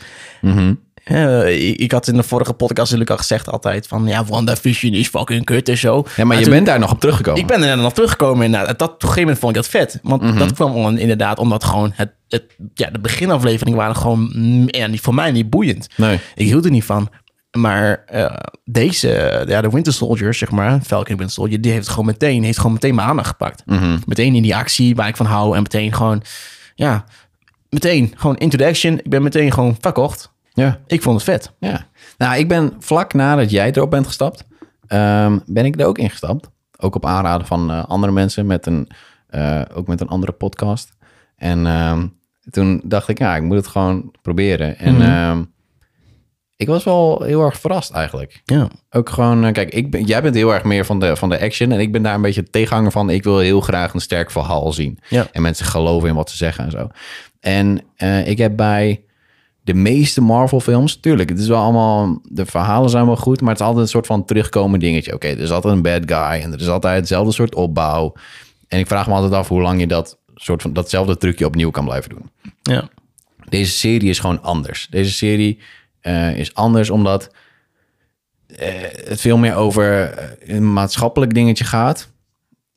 Eh, ik, ik had in de vorige podcast natuurlijk al gezegd altijd van... Ja, WandaVision is fucking kut en zo. Ja, maar je toen- bent daar nog op teruggekomen. Ik ben er nog teruggekomen inderdaad. Dat, op een gegeven moment vond ik dat vet. Want Mhm. dat kwam on- inderdaad omdat gewoon... Het, het, ja, de beginafleveringen waren gewoon... mm, Ja, niet, voor mij niet boeiend. Nee. Ik hield er niet van. Maar eh, deze, eh, ja, de Winter Soldier, zeg maar, Falcon Winter Soldier, die heeft gewoon meteen, heeft gewoon meteen mijn aandacht gepakt. Mhm. Meteen in die actie waar ik van hou en meteen gewoon, ja, meteen gewoon into the action. Ik ben meteen gewoon fuck off. Ja. Ik vond het vet. ja. Nou, ik ben vlak nadat jij erop bent gestapt, ehm, ben ik er ook ingestapt. Ook op aanraden van eh, andere mensen, met een, eh, ook met een andere podcast. En ehm, toen dacht ik, ja, ik moet het gewoon proberen. En ehm, ik was wel heel erg verrast eigenlijk. Ja. Ook gewoon, eh, kijk, ik ben, jij bent heel erg meer van de, van de action. En ik ben daar een beetje de tegenhanger van. Ik wil heel graag een sterk verhaal zien. Ja. En mensen geloven in wat ze zeggen en zo. En eh, ik heb bij de meeste Marvel-films, tuurlijk, het is wel allemaal, de verhalen zijn wel goed, maar het is altijd een soort van terugkomend dingetje. Oké, er is altijd een bad guy en er is altijd hetzelfde soort opbouw. En ik vraag me altijd af hoe lang je dat soort van datzelfde trucje opnieuw kan blijven doen Ja. deze serie is gewoon anders. Deze serie eh, is anders omdat eh, het veel meer over eh, een maatschappelijk dingetje gaat.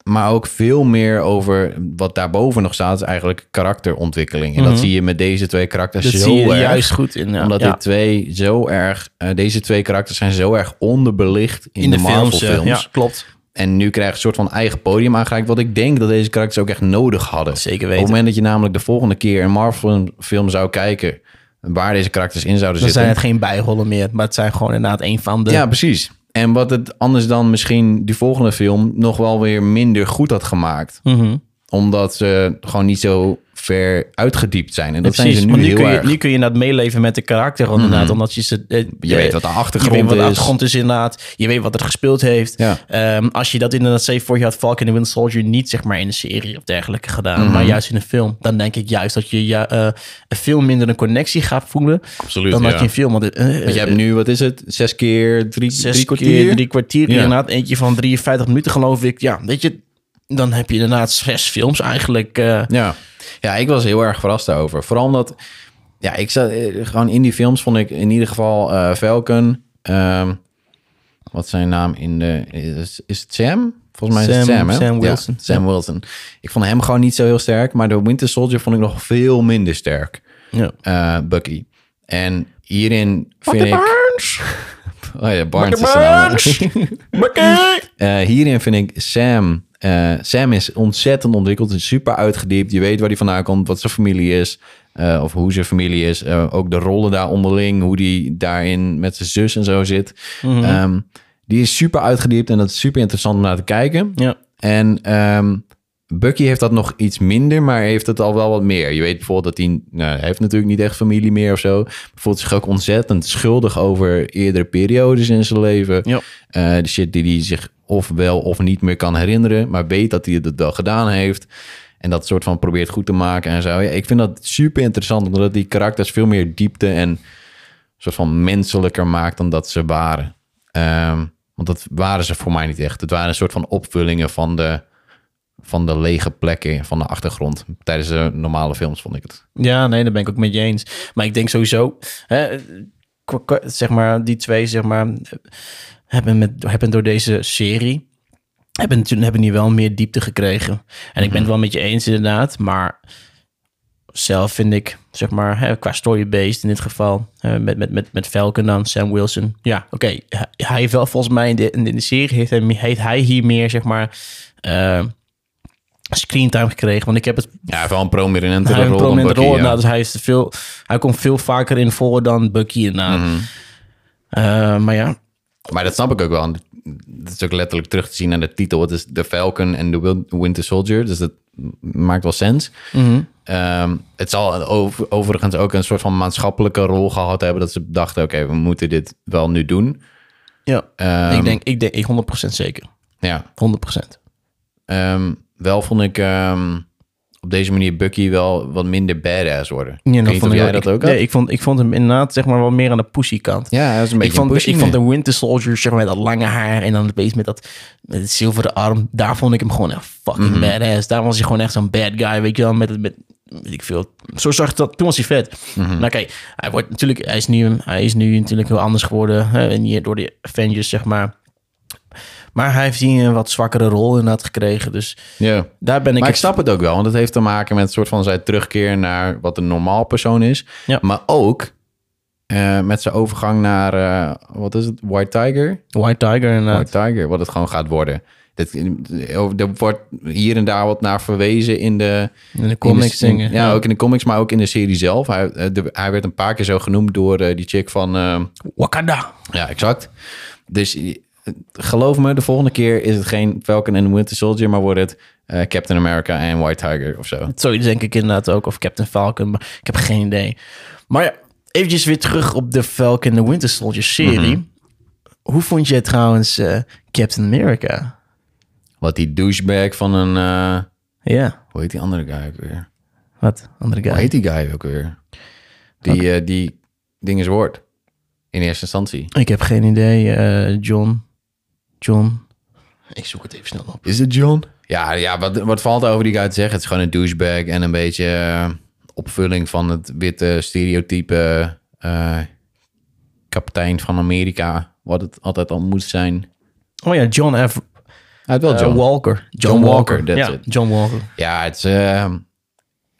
Maar ook veel meer over wat daarboven nog staat, is eigenlijk karakterontwikkeling. En dat zie je met deze twee karakters Mhm. Dat zo zie je erg. juist goed in. Ja. Omdat Ja. dit twee zo erg, eh, deze twee karakters zijn zo erg onderbelicht in, de, Marvel films. eh, Ja, klopt. En nu krijgen ze een soort van eigen podium aangereikt. Wat ik denk dat deze karakters ook echt nodig hadden. Zeker Op weten. het moment dat je namelijk de volgende keer een Marvel-film zou kijken. waar deze karakters in zouden Dan zitten. zijn het geen bijrollen meer, maar het zijn gewoon inderdaad een van de... Ja, precies. En wat het anders dan misschien die volgende film. nog wel weer minder goed had gemaakt. Mhm. Omdat ze gewoon niet zo ver uitgediept zijn. En dat Precies, zijn ze want nu nu, heel kun je, erg. Mhm. nu kun je inderdaad meeleven met de karakter, want inderdaad, omdat je ze... eh, Je weet wat de achtergrond je weet wat de is. achtergrond is, inderdaad. Je weet wat er gespeeld heeft. Ja. Ehm, als je dat inderdaad, zeg voor je had Falcon and the Winter Soldier niet zeg maar in een serie of dergelijke gedaan, Mhm. maar juist in een film, dan denk ik juist dat je ja, eh, veel minder een connectie gaat voelen Absoluut, dan ja. dat je in film... Want, eh, eh, Want je hebt nu, wat is het? Zes keer drie, zes drie kwartier? keer drie kwartier Ja. inderdaad. Eentje van 53 minuten geloof ik. Ja, weet je, dan heb je inderdaad zes films eigenlijk. eh, Ja. ja, ik was heel erg verrast daarover. Vooral omdat, ja, ik zat eh, gewoon in die films vond ik in ieder geval eh, Falcon. ehm, wat is zijn naam in de. Is, is het Sam? Volgens mij is het Sam- Sam, hè? Sam Ja, Wilson. Sam Wilson. Ik vond hem gewoon niet zo heel sterk, maar de Winter Soldier vond ik nog veel minder sterk. ja. eh, Bucky. En hierin vind ik. Burns! Oh ja, Barnes is Bucky zijn naam. Barnes! Bucky! Eh, hierin vind ik Sam. eh, Sam is ontzettend ontwikkeld, is super uitgediept. Je weet waar hij vandaan komt, wat zijn familie is. eh, of hoe zijn familie is. eh, ook de rollen daar onderling, hoe die daarin met zijn zus en zo zit. Mhm. Ehm, die is super uitgediept en dat is super interessant om naar te kijken. Ja. En ehm, Bucky heeft dat nog iets minder, maar heeft het al wel wat meer. Je weet bijvoorbeeld dat hij... Nou, hij heeft natuurlijk niet echt familie meer of zo. Hij voelt zich ook ontzettend schuldig over eerdere periodes in zijn leven. Ja. Eh, de shit die hij zich of wel of niet meer kan herinneren... maar weet dat hij het wel gedaan heeft... En dat soort van probeert goed te maken en zo. Ja, ik vind dat super interessant, omdat die karakters veel meer diepte en soort van menselijker maakt dan dat ze waren. Ehm, want dat waren ze voor mij niet echt. Het waren een soort van opvullingen van de, van de lege plekken, van de achtergrond. Tijdens de normale films vond ik het. Ja, nee, daar ben ik ook met je eens. Maar ik denk sowieso, hè, qua- qua- zeg maar, die twee, zeg maar, hebben, met, hebben door deze serie, hebben, natuurlijk- hebben hier wel meer diepte gekregen. En ik ben het wel met je eens inderdaad, maar zelf vind ik, zeg maar, hè, qua story-based in dit geval, hè, met, met, met, met Falcon dan, Sam Wilson. Ja, oké, hij- hij heeft wel volgens mij in de, in de- in de serie, heeft hij, heeft hij hier meer, zeg maar, eh screentime gekregen. Want ik heb het Ja, wel een prominente rol. hij heeft een dan prominente Bucky, rol ja. inderdaad. Dus hij, is veel, hij komt veel vaker in voor dan Bucky inderdaad. Mhm. Eh, maar ja, Maar dat snap ik ook wel. Dat is ook letterlijk terug te zien aan de titel. Het is The Falcon en The Wil- Winter Soldier. Dus dat maakt wel sens. Mhm. Ehm, het zal over- overigens ook een soort van maatschappelijke rol gehad hebben. Dat ze dachten, oké, we moeten dit wel nu doen. ja. Ehm, ik denk, ik denk ik 100% zeker. 100%. Ja, Ehm, wel vond ik ehm, op deze manier Bucky wel wat minder badass worden. Ja, ik weet niet of ik jij ook- dat ik- ook had? nee, ik vond, ik vond hem inderdaad zeg maar wel meer aan de pussy kant. ja, hij was een ik beetje vond, een ik pushing vond man. de Winter Soldier zeg maar, met dat lange haar en dan het beest met dat met het zilveren arm. Daar vond ik hem gewoon echt fucking Mhm. badass. Daar was hij gewoon echt zo'n bad guy, weet je wel. Met, het- met, weet ik veel. Zo zag ik dat. Toen was hij vet. Mhm. Maar oké, hij wordt natuurlijk, hij is nu, hij is nu natuurlijk heel anders geworden. Hè, en hier door de Avengers, zeg maar. Maar hij heeft hier een wat zwakkere rol inderdaad gekregen. Dus Ja. daar ben ik, Maar ik het- snap het ook wel, want het heeft te maken met een soort van zijn terugkeer naar wat een normaal persoon is. Ja. Maar ook eh, met zijn overgang naar, eh, wat is het, White Tiger? White Tiger eh, inderdaad. White Tiger, wat het gewoon gaat worden. Dit, er wordt hier en daar wat naar verwezen in de, In de In de- comics in- dingen. Ja, ook in de comics, maar ook in de serie zelf. Hij, eh, de- hij werd een paar keer zo genoemd door eh, die chick van... eh, Wakanda. ja, exact. Dus eh, geloof me, de volgende keer is het geen Falcon en Winter Soldier, maar wordt het eh, Captain America en White Tiger of zo. Zoiets denk ik inderdaad ook. Of Captain Falcon. Maar ik heb geen idee. Maar ja, eventjes weer terug op de Falcon and the Winter Soldier serie. Hoe vond je trouwens eh, Captain America? Wat die douchebag van een... eh, Ja, hoe heet die andere guy ook weer? wat? Andere Hoe guy. heet die guy ook weer? Die, eh, die ding is woord. In eerste instantie. Ik heb geen idee. eh, John. John. Ik zoek het even snel op. Is het John? Ja, ja wat, wat valt er over die guy te zeggen? Het is gewoon een douchebag en een beetje eh, opvulling van het witte stereotype eh, kapitein van Amerika. Wat het altijd al moest zijn. Oh ja, John F. Hij heeft wel eh, John. Walker. John, Walker, that's ja, it. John Walker. ja, het is, eh,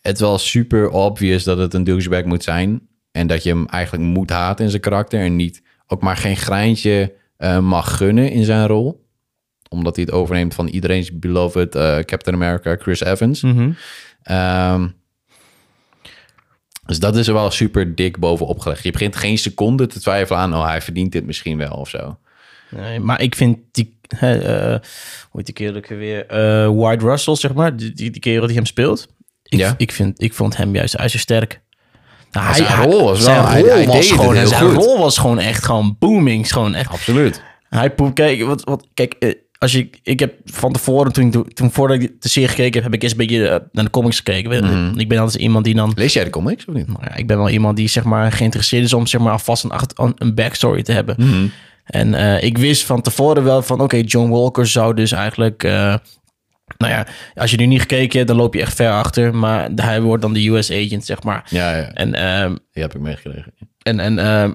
het is wel super obvious dat het een douchebag moet zijn. En dat je hem eigenlijk moet haten in zijn karakter. En niet ook maar geen greintje eh, mag gunnen in zijn rol. Omdat hij het overneemt van iedereen's beloved eh, Captain America, Chris Evans. Ehm, dus dat is er wel super dik bovenop gelegd. Je begint geen seconde te twijfelen aan... oh, hij verdient dit misschien wel of zo. Nee, maar ik vind die... hè, eh, hoe heet die kerel ook weer? eh White Russell, zeg maar. Die, die, die kerel die hem speelt. Ik, Ja. ik, vind, ik vond hem juist ijzersterk. Nou, hij, zijn hij- rol was wel- zijn hij- rol hij was deed het gewoon, heel zijn goed. rol was gewoon echt gewoon booming. Is Gewoon echt, Absoluut. hij poep, kijk, wat, wat, kijk eh, als je, ik heb van tevoren, toen, ik- toen voordat ik de serie gekeken heb, heb ik eerst een beetje eh, naar de comics gekeken. Ik ben- Mhm. Ik ben altijd iemand die dan Lees jij de comics of niet? nou ja, ik ben wel iemand die zeg maar geïnteresseerd is om zeg maar alvast een, achter- een- een backstory te hebben. En eh, ik wist van tevoren wel van oké, John Walker zou dus eigenlijk. eh, nou ja, als je nu niet gekeken hebt, dan loop je echt ver achter. Maar hij wordt dan de US agent, zeg maar. Ja, ja, En, ehm, die heb ik meegekregen. en, en ehm,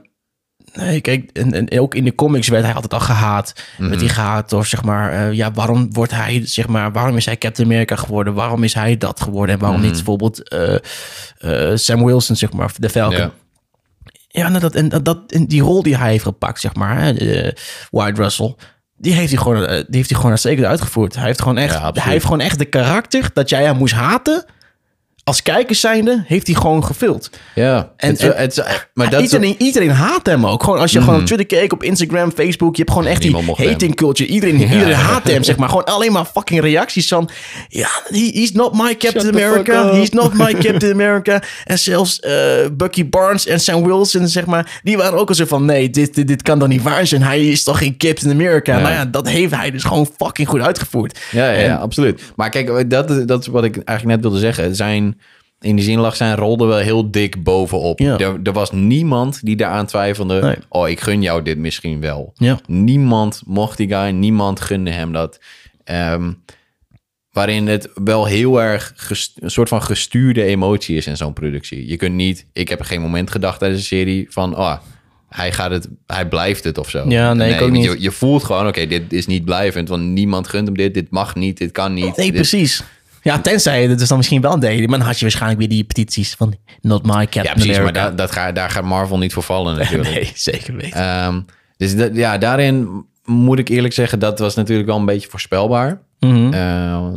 nee, kijk, en, en ook in de comics werd hij altijd al gehaat. Werd hij gehaat door, zeg maar, eh, ja, waarom wordt hij, zeg maar, waarom is hij Captain America geworden? Waarom is hij dat geworden? En waarom niet bijvoorbeeld eh, eh, Sam Wilson, zeg maar, de Falcon? Ja. Ja. nou, dat, en dat, en die rol die hij heeft gepakt, zeg maar, hè, eh, Wyatt Russell, die heeft hij gewoon, eh, die heeft hij gewoon uitstekend uitgevoerd. Hij heeft gewoon echt, Ja, absoluut. hij heeft gewoon echt de karakter dat jij hem moest haten, als kijkers zijnde heeft hij gewoon gevild. Ja, En- het, is- en- Ah, het, is- maar dat is- Hmm. iedereen, iedereen haat hem ook. Gewoon als je gewoon op Twitter keek, op Instagram, Facebook. Je hebt gewoon echt die Niemand mocht hating culture. Iedereen, iedereen haat hem, zeg maar. Gewoon alleen maar fucking reacties van... Ja, he, he's not my Captain the fuck America. up. He's not my [laughs] Captain America. En zelfs eh, Bucky Barnes en Sam Wilson, zeg maar... Die waren ook al zo van... Nee, dit, dit, dit kan dan niet waar zijn. Hij is toch geen Captain America? Ja. Nou ja, dat heeft hij dus gewoon fucking goed uitgevoerd. Ja, ja, ja, absoluut. Maar kijk, dat, dat is wat ik eigenlijk net wilde zeggen. Zijn, in die zin lag zijn rol er wel heel dik bovenop. Ja. Er, er was niemand die daaraan twijfelde. Nee. Oh, ik gun jou dit misschien wel. Ja. Niemand mocht die guy, niemand gunde hem dat. Ehm, waarin het wel heel erg gest- een soort van gestuurde emotie is in zo'n productie. Je kunt niet, ik heb geen moment gedacht tijdens de serie van, oh, hij gaat het, hij blijft het of zo. Ja, nee, ik ook want je- niet. Je, voelt gewoon, oké, dit is niet blijvend, want niemand gunt hem dit, dit mag niet, dit kan niet. Nee, dit- precies. Ja, tenzij je het dus dan misschien wel deed. Maar dan had je waarschijnlijk weer die petities van... Not my Captain Ja, precies, maar America. da, dat ga, daar gaat Marvel niet voor [laughs] vallen natuurlijk. Nee, zeker weten. Ehm, dus dat- ja, daarin moet ik eerlijk zeggen, dat was natuurlijk wel een beetje voorspelbaar. Mhm, Hm? Eh,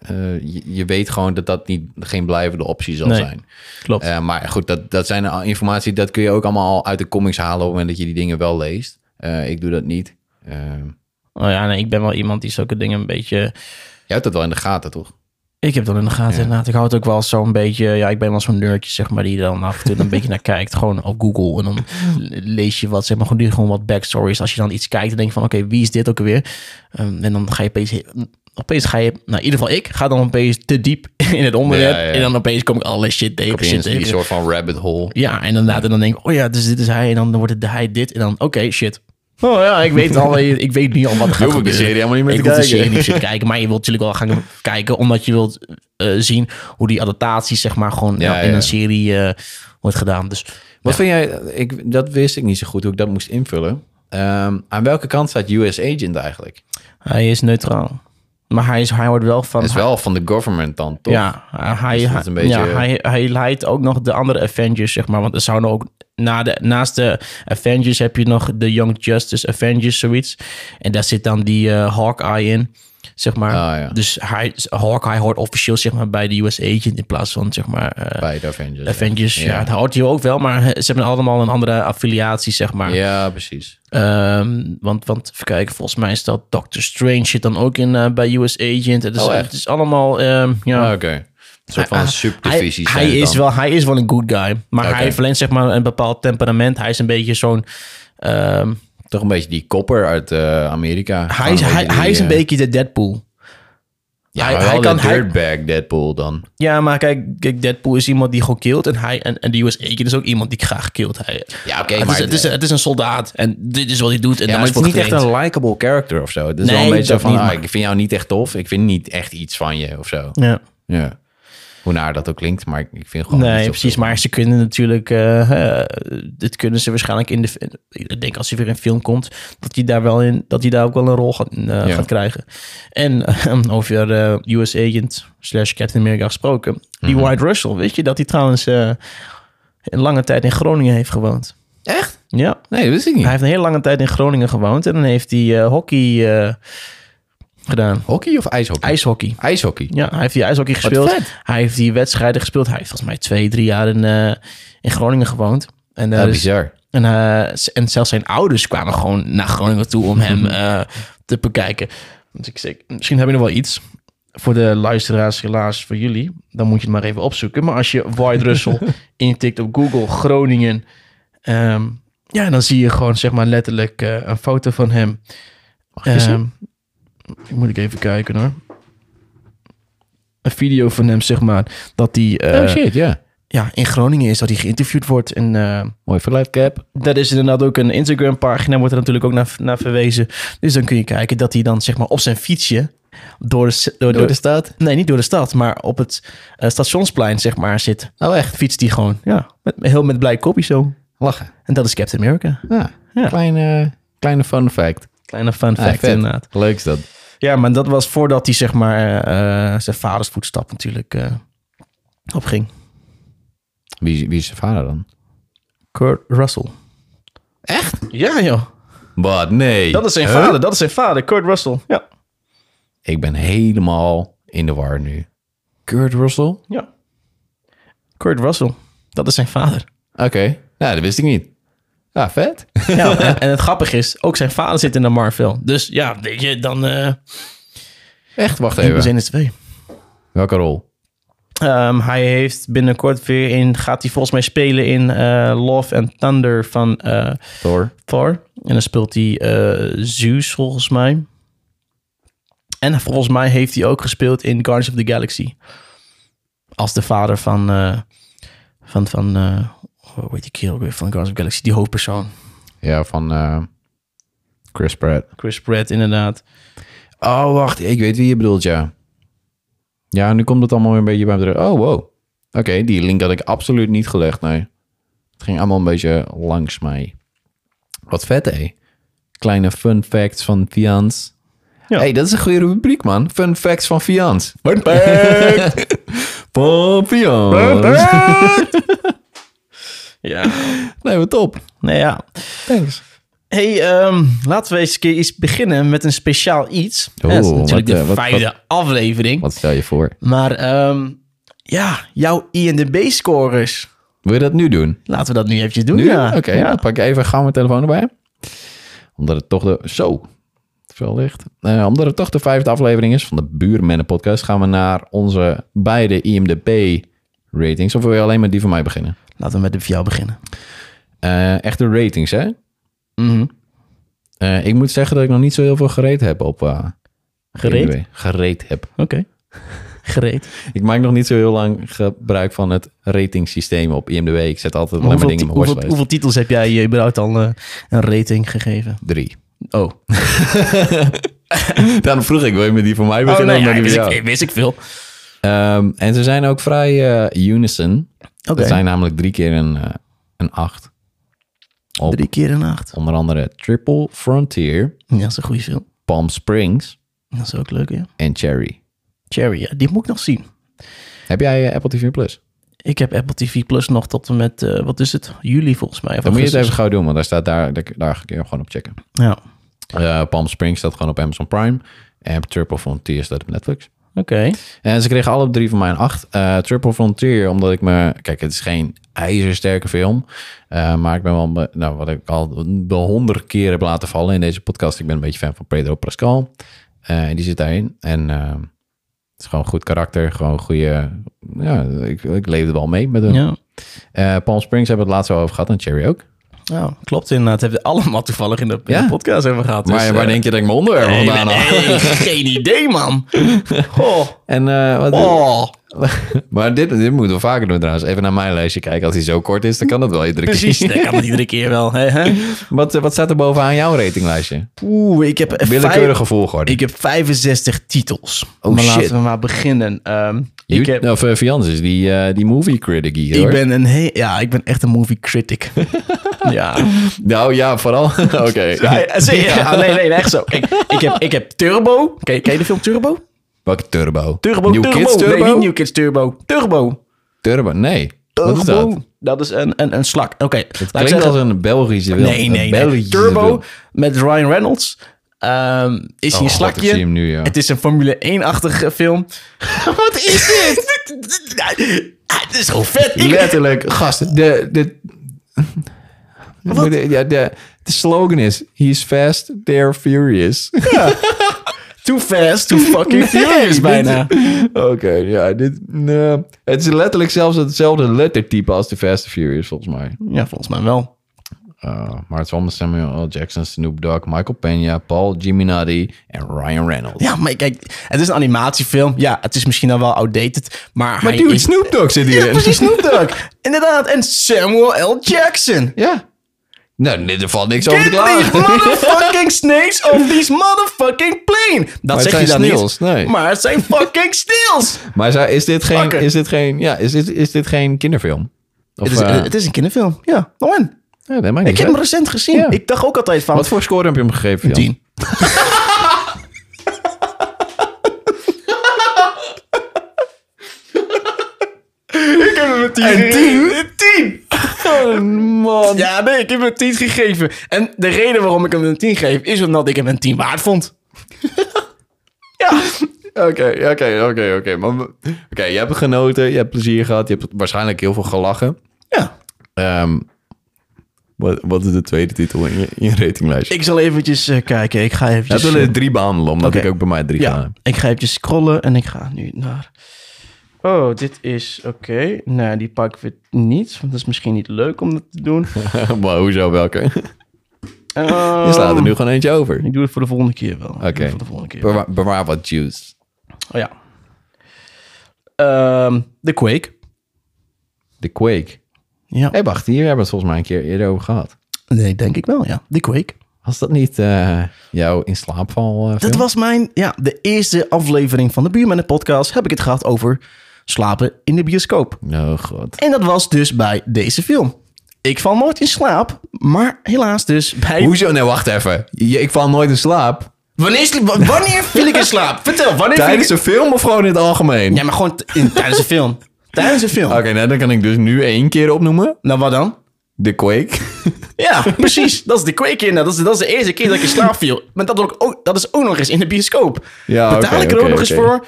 eh, je, je weet gewoon dat dat niet, geen blijvende optie zal Nee, zijn. klopt. Eh, maar goed, dat, dat zijn al informatie, dat kun je ook allemaal al uit de comics halen op het moment dat je die dingen wel leest. Eh, ik doe dat niet. Eh, Oh ja, nee, ik ben wel iemand die zulke dingen een beetje... jij hebt dat wel in de gaten, toch? Ik heb dat in de gaten inderdaad. Ik houd ook wel zo'n beetje... Ja, ik ben wel zo'n nerdje, zeg maar, die er dan af en [laughs] toe een beetje naar kijkt. Gewoon op Google. En dan lees je wat, zeg maar, gewoon, doe je gewoon wat backstories. Als je dan iets kijkt, dan denk je van, oké, wie is dit ook alweer? Ehm, en dan ga je opeens... Opeens ga je... Nou, in ieder geval ik ga dan opeens te diep [laughs] in het onderwerp. Ja, ja. En dan opeens kom ik alle shit tegen, Heb je shit een die tegen. soort van rabbit hole? Ja, en inderdaad. En dan denk ik, oh ja, dus dit is hij. En dan wordt het hij dit. En dan, oké, shit. Oh ja, ik [laughs] weet, al, ik weet niet al wat er gaat hoef ik de gebeuren. serie helemaal niet meer ik te hoef de kijken. serie niet meer te kijken. Maar je wilt natuurlijk wel gaan kijken, omdat je wilt eh, zien hoe die adaptaties, zeg maar, gewoon Ja, ja, in ja. een serie eh, wordt gedaan. Dus Wat vind jij, ik, dat wist ik niet zo goed hoe ik dat moest invullen. Ehm, aan welke kant staat US Agent eigenlijk? hij is neutraal. Maar hij, is, hij wordt wel van... Dat is wel van de government dan, toch? Ja, hij, Dus dat hij- is een beetje- ja, hij, hij leidt ook nog de andere Avengers, zeg maar. Want er zouden ook na de, naast de Avengers heb je nog de Young Justice Avengers, zoiets. En daar zit dan die eh, Hawkeye in, zeg maar. Ah, ja. Dus hij, Hawkeye hoort officieel zeg maar, bij de US Agent in plaats van, zeg maar... eh, Bij de Avengers. ja. Avengers, ja. Ja. het houdt hier ook wel, maar [laughs] ze hebben allemaal een andere affiliatie, zeg maar. Ja, precies. Ehm, want, want even kijken, volgens mij is dat Doctor Strange zit dan ook in eh, bij US Agent. Het is, Oh, echt? het is allemaal, ehm, ja, Ah, Oké. Een soort van Ah, subdivisie. hij, zijn hij het is dan. wel, hij is wel een good guy. Maar Oké. hij verleent zeg maar een bepaald temperament. Hij is een beetje zo'n... ehm, Toch een beetje die kopper uit eh, Amerika. hij, is, Gewoon hij, die, hij is een eh, beetje de Deadpool. Ja, hij- hij, hij kan- kan... hij- dirtbag Deadpool dan. Ja, maar kijk, kijk Deadpool is iemand die gewoon killt. En, hij, en, en de US Agent is ook iemand die graag killt. Hij, Ja, oké, het, maar- is, het, is, het is een soldaat. En dit is wat hij doet. Ja, En daar maar is het is niet voor echt een likable character of zo. Het is wel Nee, een beetje dat van, niet, ah, maar- ik vind jou niet echt tof. Ik vind niet echt iets van je of zo. getraind. Ja. Ja. Hoe naar dat ook klinkt, maar ik, ik vind gewoon... Nee, niet zo precies. veel. Maar ze kunnen natuurlijk... eh, eh, dit kunnen ze waarschijnlijk in de... Ik denk als hij weer in film komt... dat hij daar, wel in, dat hij daar ook wel een rol gaat, eh, gaat krijgen. En eh, over eh, US Agent slash Captain America gesproken. Die White Russell, weet je dat hij trouwens... eh, een lange tijd in Groningen heeft gewoond. Echt? Ja, Nee, dat wist ik niet. hij heeft een hele lange tijd in Groningen gewoond. En dan heeft hij eh, hockey eh, gedaan. Hockey of ijshockey? IJshockey. IJshockey. Ja, hij heeft die ijshockey gespeeld. vet. Hij heeft die wedstrijden gespeeld. Hij heeft volgens mij twee, drie jaar in, eh, in Groningen gewoond. En, eh, Dat is dus- bizar. en, eh, z- en zelfs zijn ouders kwamen gewoon naar Groningen toe om hem eh, te bekijken. Dus ik zeg, misschien heb je nog wel iets voor de luisteraars, helaas voor jullie. Dan moet je het maar even opzoeken. Maar als je White Russell intikt op Google Groningen, ehm, ja, dan zie je gewoon zeg maar letterlijk eh, een foto van hem. Mag ik eens Ehm, moet ik even kijken hoor. Een video van hem, zeg maar, dat hij eh, oh shit, ja. ja, in Groningen is, dat hij geïnterviewd wordt. En eh, Mooi verluid cap. dat is inderdaad ook een Instagram-pagina, wordt er natuurlijk ook naar, naar verwezen. Dus dan kun je kijken dat hij dan, zeg maar, op zijn fietsje door de, s- door, door, Door de stad. nee, niet door de stad, maar op het eh, stationsplein, zeg maar, zit. Oh echt? Fietst hij gewoon, ja, met, heel met blij kopje zo. Lachen. En dat is Captain America. Ja. Ja. Kleine, kleine fun fact. Kleine fun Ah, fact, vet. inderdaad. Leuk is dat. Ja, maar dat was voordat hij zeg maar eh, zijn vaders voetstap natuurlijk eh opging. Wie, is- wie is zijn vader dan? Kurt Russell. Echt? Ja, joh. Wat? Nee. Dat is zijn Huh? vader. Dat is zijn vader, Kurt Russell. Ja. Ik ben helemaal in de war nu. Kurt Russell? ja. Kurt Russell. Dat is zijn vader. Oké, nou, dat wist ik niet. Ja, vet. Ja, en, en het grappige is, ook zijn vader zit in de Marvel. Dus ja, weet je, dan... eh Echt, [laughs] wacht we even. zijn er twee. Welke rol? Ehm, hij heeft binnenkort weer in... Gaat hij volgens mij spelen in eh, Love and Thunder van eh, Thor. Thor. En dan speelt hij eh, Zeus, volgens mij. En volgens mij heeft hij ook gespeeld in Guardians of the Galaxy. Als de vader van... eh, van, van eh hoe heet die kerel ook weer van Guardians of the Galaxy? Die hoofdpersoon. Ja, van eh, Chris Pratt. Chris Pratt, inderdaad. Oh, wacht. Ik weet wie je bedoelt, ja. Ja, nu komt het allemaal weer een beetje bij me terug. Oh, wow. Oké, die link had ik absoluut niet gelegd, nee. Het ging allemaal een beetje langs mij. Wat vet, hé. Kleine fun facts van Fians. Ja. hey, dat is een goede rubriek, man. Fun facts van Fians. Fun fact [laughs] van Fians. [laughs] Ja. Nee, wat top. Nou ja. Thanks. Hey, ehm, laten we eens een keer iets beginnen met een speciaal iets. Oh, Ja, dat is natuurlijk wat, de eh, wat- vijfde aflevering. Wat stel je voor? Maar ehm, ja, jouw INDB-scores. Wil je dat nu doen? Laten we dat nu eventjes doen. Nu? ja. Oké, ja. dan pak ik even gauw mijn telefoon erbij. Omdat het toch de... Zo, veel licht. Eh, omdat het toch de vijfde aflevering is van de Buurmannen podcast... gaan we naar onze beide IMDb ratings. Of wil je alleen met die van mij beginnen? Laten we met de van jou beginnen. Eh echte ratings, hè? Mhm. Eh, ik moet zeggen dat ik nog niet zo heel veel gereed heb op... eh, Gereed? IMDb. Gereed heb. Oké. [laughs] Gereed. Ik maak nog niet zo heel lang gebruik van het ratingsysteem op IMDb. Ik zet altijd alleen maar Hoeveel, dingen in ti- mijn hoeveel, watchlist. hoeveel titels heb jij je überhaupt al eh, een rating gegeven? Drie. [laughs] Oh. Daarom vroeg ik, wil je met die van mij Oh, beginnen? of nee, met die van ja, wist, jou? ik, wist ik veel. Ehm, en ze zijn ook vrij eh, unison. Oké. Dat zijn namelijk drie keer een, eh, een acht. Op Drie keer een acht. onder andere Triple Frontier, Ja, dat is een goede film. Palm Springs Dat is ook leuk, ja. en Cherry. Cherry, ja, die moet ik nog zien. Heb jij eh, Apple TV Plus? Ik heb Apple TV Plus nog tot en met, eh, wat is het? Juli volgens mij. Of Dan moet je het even augustus. gauw doen, want daar staat daar, daar, daar kun je gewoon op checken. Ja, oké. Eh, Palm Springs staat gewoon op Amazon Prime. En Triple Frontier staat op Netflix. En Eh, ze kregen alle drie van mij een 8. Triple Frontier, omdat ik me... Kijk, het is geen ijzersterke film. eh, maar ik ben wel... be- Nou, wat ik al de honderd keer heb laten vallen in deze podcast. Ik ben een beetje fan van Pedro Pascal. Eh, en die zit daarin. En eh, het is gewoon goed karakter. Gewoon goede... Ja, ik, ik leefde wel mee met hem. Ja. Eh, Palm Springs hebben we het laatst wel over gehad. En Cherry ook. Nou, klopt inderdaad. Hebben we allemaal toevallig in de, in de Ja. podcast hebben gehad. dus, eh, Maar waar denk je oh, dat ik mijn onderwerp nee, vandaan haal? nee, nee, geen idee, [laughs] man. Oh, En eh, wat... oh. Maar dit, dit moeten we vaker doen trouwens. Even naar mijn lijstje kijken. Als hij zo kort is, dan kan dat wel iedere keer. Precies, dat kan het iedere keer wel. Hè? hè? Wat, eh, wat staat er bovenaan jouw ratinglijstje? Oeh, ik heb, vijf- Willekeurige volgorde. ik heb 65 titels. Oh, maar shit. laten we maar beginnen. Ehm, ik, You- heb, Of eh, Fians is die, eh, die movie critic hier. ik, hoor. ben een he- ja, ik ben echt een movie [laughs] critic. ja. Nou ja, eh, vooral. [laughs] Oké. Ja, ja, zie je? Ja, nee, nee, echt zo. Ik, ik, heb, ik heb Turbo. Ken je, ken je de film Turbo? Welke Turbo? Turbo, New Turbo. Kids Turbo? Nee, niet New Kids Turbo. Turbo. Turbo, nee. Wat is dat? Turbo. Nou, Dat is een, een, een slak. Oké. laat ik Klinkt zeggen- als een Belgische wil. Nee, een nee, nee. Belgische Turbo wil. met Ryan Reynolds. Ehm, is hij Oh, een God, ik slakje? zie hem nu, ja. Het is een Formule 1-achtige film. [laughs] Wat is [laughs] dit? Het is gewoon vet. Ik- Letterlijk, gast. De, de, Wat? [laughs] Ja, de, de slogan is: He's fast, they're furious. Too fast, too fucking [laughs] furious dit- bijna. Oké, ja, dit. nee. het is letterlijk zelfs hetzelfde lettertype als de Fast and Furious, volgens mij. Ja, volgens mij wel. Uh, maar het is wel met Samuel L. Jackson, Snoop Dogg, Michael Pena, Paul Giaminotti en Ryan Reynolds. Ja, maar kijk, het is een animatiefilm. Ja, het is misschien dan wel outdated, maar, maar hij dude, is... Snoop Dogg zit hierin. [laughs] Ja, [laughs] precies, Snoop Dogg. Inderdaad, en Samuel L. Jackson. ja. Nou, nee, er valt niks over te Get these klagen. [laughs] motherfucking snakes off these motherfucking plane. Dat het zeg zijn je dan snails, niet. nee. Maar het [laughs] zijn fucking snails. Maar zou- is dit geen, Fucker. is dit geen, ja, is dit, is dit geen kinderfilm? Of, het, is, eh, het is een kinderfilm. Ja, nou en. ja, dat maakt niet Ik heb uit. hem recent gezien. Ja. Ik dacht ook altijd van... Wat voor score heb je hem gegeven? Jan? tien. [laughs] Ik heb hem een tien Oh, gegeven. Een tien? Man. Ja, nee, ik heb hem een 10 gegeven. En de reden waarom ik hem een 10 geef is omdat ik hem een 10 waard vond. [laughs] ja. Oké, Oké, oké, oké, oké. Maar we- Oké, je hebt genoten, je hebt plezier gehad, je hebt waarschijnlijk heel veel gelachen. Ja. Ehm, wat, wat is de tweede titel in je, in je ratinglijstje? Ik zal eventjes eh, kijken. Ik ga We eventjes... willen eh, er drie behandelen, omdat oké. ik ook bij mij drie ga. ja, ik ga eventjes scrollen en ik ga nu naar... Oh, dit is... Oké. Nee, die pak ik weer niet. Want dat is misschien niet leuk om dat te doen. [laughs] maar hoezo welke? Ehm, Je slaat er nu gewoon eentje over. Ik doe het voor de volgende keer wel. Ik doe Oké. het Voor de volgende keer. Bewaar, bewaar wat juice. Oh, ja. Ehm, de Quake. The Quake. Ja. Hé, wacht, hier hebben we het volgens mij een keer eerder over gehad. Nee, denk ik wel, ja. De Quake. Was dat niet eh, jouw in slaapval eh, film? Dat was mijn, ja, de eerste aflevering van de Buurmannen Podcast. Heb ik het gehad over slapen in de bioscoop. Oh god. En dat was dus bij deze film. Ik val nooit in slaap, maar helaas dus bij... Hoezo? Nee, wacht even. Je- ik val nooit in slaap. Wanneer, sli- wa- [laughs] wanneer viel ik in slaap? Vertel, wanneer viel ik... Tijdens een film of gewoon in het algemeen? Ja, maar gewoon t- in, tijdens een film. Tijdens een film. Oké, nou, dan kan ik dus nu één keer opnoemen. Nou, wat dan? De Quake. [laughs] Ja, precies. Dat is de Quake inderdaad. Dat is, dat is de eerste keer dat ik in slaap viel. Maar dat, ook, ook, dat is ook nog eens in de bioscoop. Ja, Betaal oké, ik er ook oké, nog eens oké. voor.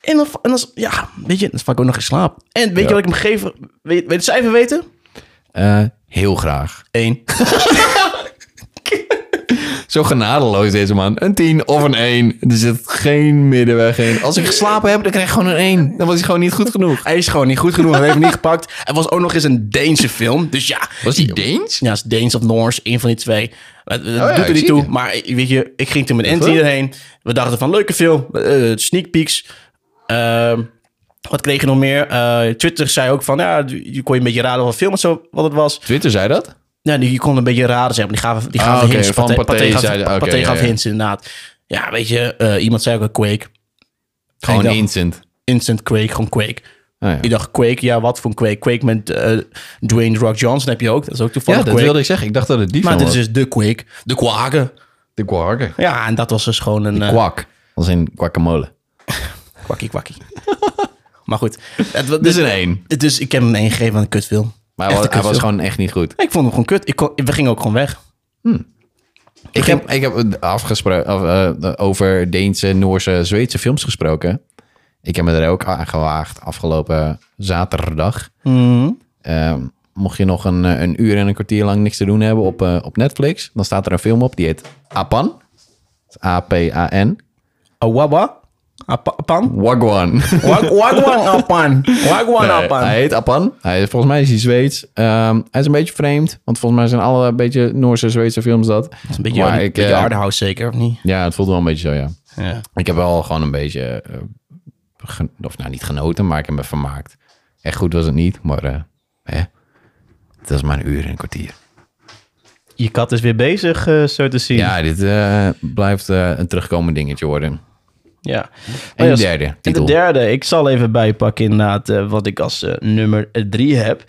En dan, en dan is- ja, weet je, dan val ik ook nog in slaap. En weet je Ja. wat ik hem geef? Weet, weet je het cijfer weten? Eh, heel graag. Eén. [laughs] Zo genadeloos deze man. Een 10 of een 1. Er zit geen middenweg in. Als ik geslapen heb, dan krijg ik gewoon een 1. Dan was hij gewoon niet goed genoeg. Hij is gewoon niet goed genoeg. Hij heeft hem niet gepakt. Het was ook nog eens een Deense film. Dus ja. Was hij Deens? Ja, het is Deens of Noors. één van die twee. Het, het Oh ja, doet er ik niet zie toe. het. Maar eh, weet je, ik ging toen met Anthony wel? erheen. We dachten van leuke film. eh, sneak peeks. Ehm, wat kreeg je nog meer? Eh, Twitter zei ook van, ja, je kon je een beetje raden wat film het zo, wat het was. Twitter zei dat? Ja, die, je kon een beetje raden, zeg maar. Die gaven, die Ah, gaven oké, hints. van Pathé- Pathé Pathé gaf- zeiden- oké, Pathé ja, gaf ja. hints, inderdaad. Ja, weet je, eh, iemand zei ook een Quake. Gewoon Ik dacht- instant. Instant Quake, gewoon Quake. Ah, ja. Ik dacht Quake, ja, wat voor een Quake? Quake met eh, Dwayne The Rock Johnson heb je ook. Dat is ook toevallig Ja, dat Quake. wilde ik zeggen. Ik dacht dat het die Maar film dit is was. dus de Quake. De Quake. De Quark. Ja, en dat was dus gewoon een... eh, Kwak. Als in guacamole. Kwakkie, kwakkie. [laughs] maar goed. Het, wa- Dus een 1. dus, dus ik heb hem een gegeven aan een kutfilm. Maar Echt hij was, een hij was kutfilm. gewoon echt niet goed. Ik vond hem gewoon kut. Ik kon, we gingen ook gewoon weg. Ik heb, ik heb afgesproken over Deense, Noorse, Zweedse films gesproken. Ik heb me er ook aan gewaagd afgelopen zaterdag. Mhm. Ehm, mocht je nog een, eh, een uur en een kwartier lang niks te doen hebben op, eh, op Netflix, dan staat er een film op die heet Apan. A-P-A-N. Awaba. Apa- [laughs] Apan. Wagwan. Wag- Wagwan Apan. Wagwan Nee, Apan. Hij heet Apan. Hij is, volgens mij is hij Zweeds. Ehm, hij is een beetje vreemd, want volgens mij zijn alle een beetje Noorse, Zweedse films dat. Dat is een beetje, Maar een ik, beetje eh, hardhouse zeker, of niet? Ja, het voelt wel een beetje zo, ja. Ja. Ik heb wel gewoon een beetje, eh, gen- of nou niet genoten, maar ik heb me vermaakt. Echt goed was het niet, maar eh, hè? het was maar een uur en een kwartier. Je kat is weer bezig, eh, zo te zien. Ja, dit eh, blijft eh, een terugkomend dingetje worden. Ja. En Maar ja, de derde En titel. de derde, ik zal even bijpakken inderdaad eh, wat ik als eh, nummer eh, drie heb.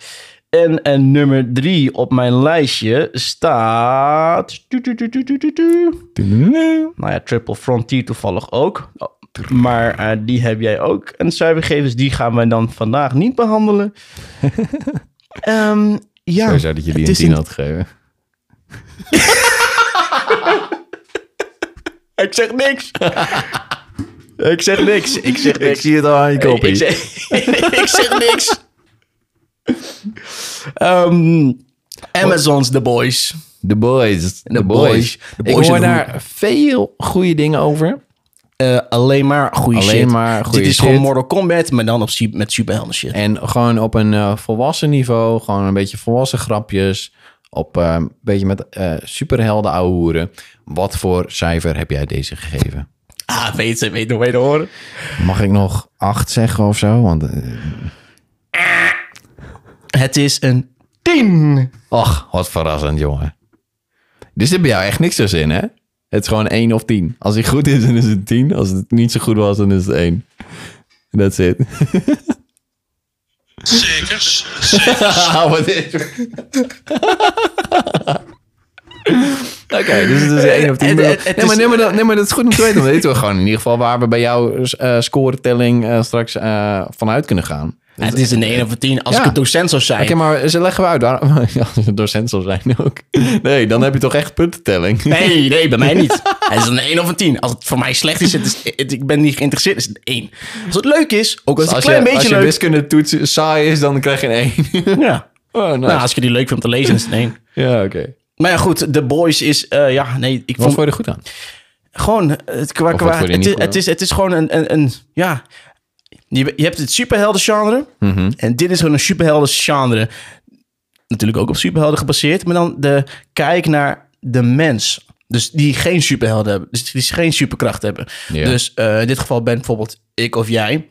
En, en nummer drie op mijn lijstje staat... tu, tu, tu, tu, tu, tu, tu. Nou ja, Triple Frontier toevallig ook. Maar eh, die heb jij ook een cijfer gegeven, dus die gaan wij dan vandaag niet [laughs] behandelen. Ehm, ja, Zo zou dat je die het een is 10 had gegeven. Ik zeg niks. [laughs] ik zeg niks. Ik zeg niks. het al aan je Ik- Ik zeg, [laughs] ik zeg niks. Ehm, Amazon's The Boys. The Boys. The Boys. The Boys Ik hoor in the daar veel goede dingen over. Eh, alleen maar goede Alleen shit. maar goede Dit is shit. gewoon Mortal Kombat, maar dan op, su- met superhelden shit. En gewoon op een eh, volwassen niveau. Gewoon een beetje volwassen grapjes. Op eh, een beetje met eh, superhelden ouwehoeren. Wat voor cijfer heb jij deze gegeven? Ah, weet ze, weet nog, weet nog horen. Mag ik nog acht zeggen of zo? Want, eh, Het is een 10. och, wat verrassend, jongen. Dus dit bij jou echt niks zo zin, hè? Het is gewoon 1 of 10. Als hij goed is, dan is het 10. Als het niet zo goed was, dan is het 1. That's it. [laughs] Zekers. Ah, wat is Oké, dus het is één op tien. Het- bedoel- het- het Nee, maar, is- nee, maar, dat- nee, maar dat is goed om te weten. Want dan weten we gewoon in ieder geval waar we bij jouw eh scoretelling eh, straks eh, vanuit kunnen gaan. het is een 1 of een 10. Als Ja. ik een docent zou zijn. Oké, maar ze leggen we uit. [laughs] Daarom, als je docent zal zijn ook. Nee, dan heb je toch echt puntentelling. Nee, nee, bij mij niet. [laughs] Het is een 1 of een 10. Als het voor mij slecht is, het is het- ik ben niet geïnteresseerd, is het een 1. Als het leuk is, ook als het als een klein je, als beetje je leuk wiskunde toets saai is, dan krijg je een 1. [laughs] Ja. [laughs] oh, nice. Nou, als je die leuk vindt om te lezen, is het een 1. Ja, oké. Maar ja, goed, The Boys is... eh, ja, nee, Wat ik vond vond je er goed aan? gewoon... eh, Het, qua, Of qua, wat vond je het, niet is, goed het, is, het is gewoon een... een, een ja, je, je hebt het superhelden-genre. Mhm. En dit is gewoon een superhelden-genre. Natuurlijk ook op superhelden gebaseerd. Maar dan de kijk naar de mens. Dus die geen superhelden hebben. Dus die geen superkracht hebben. Ja. Dus eh, in dit geval ben bijvoorbeeld ik of jij.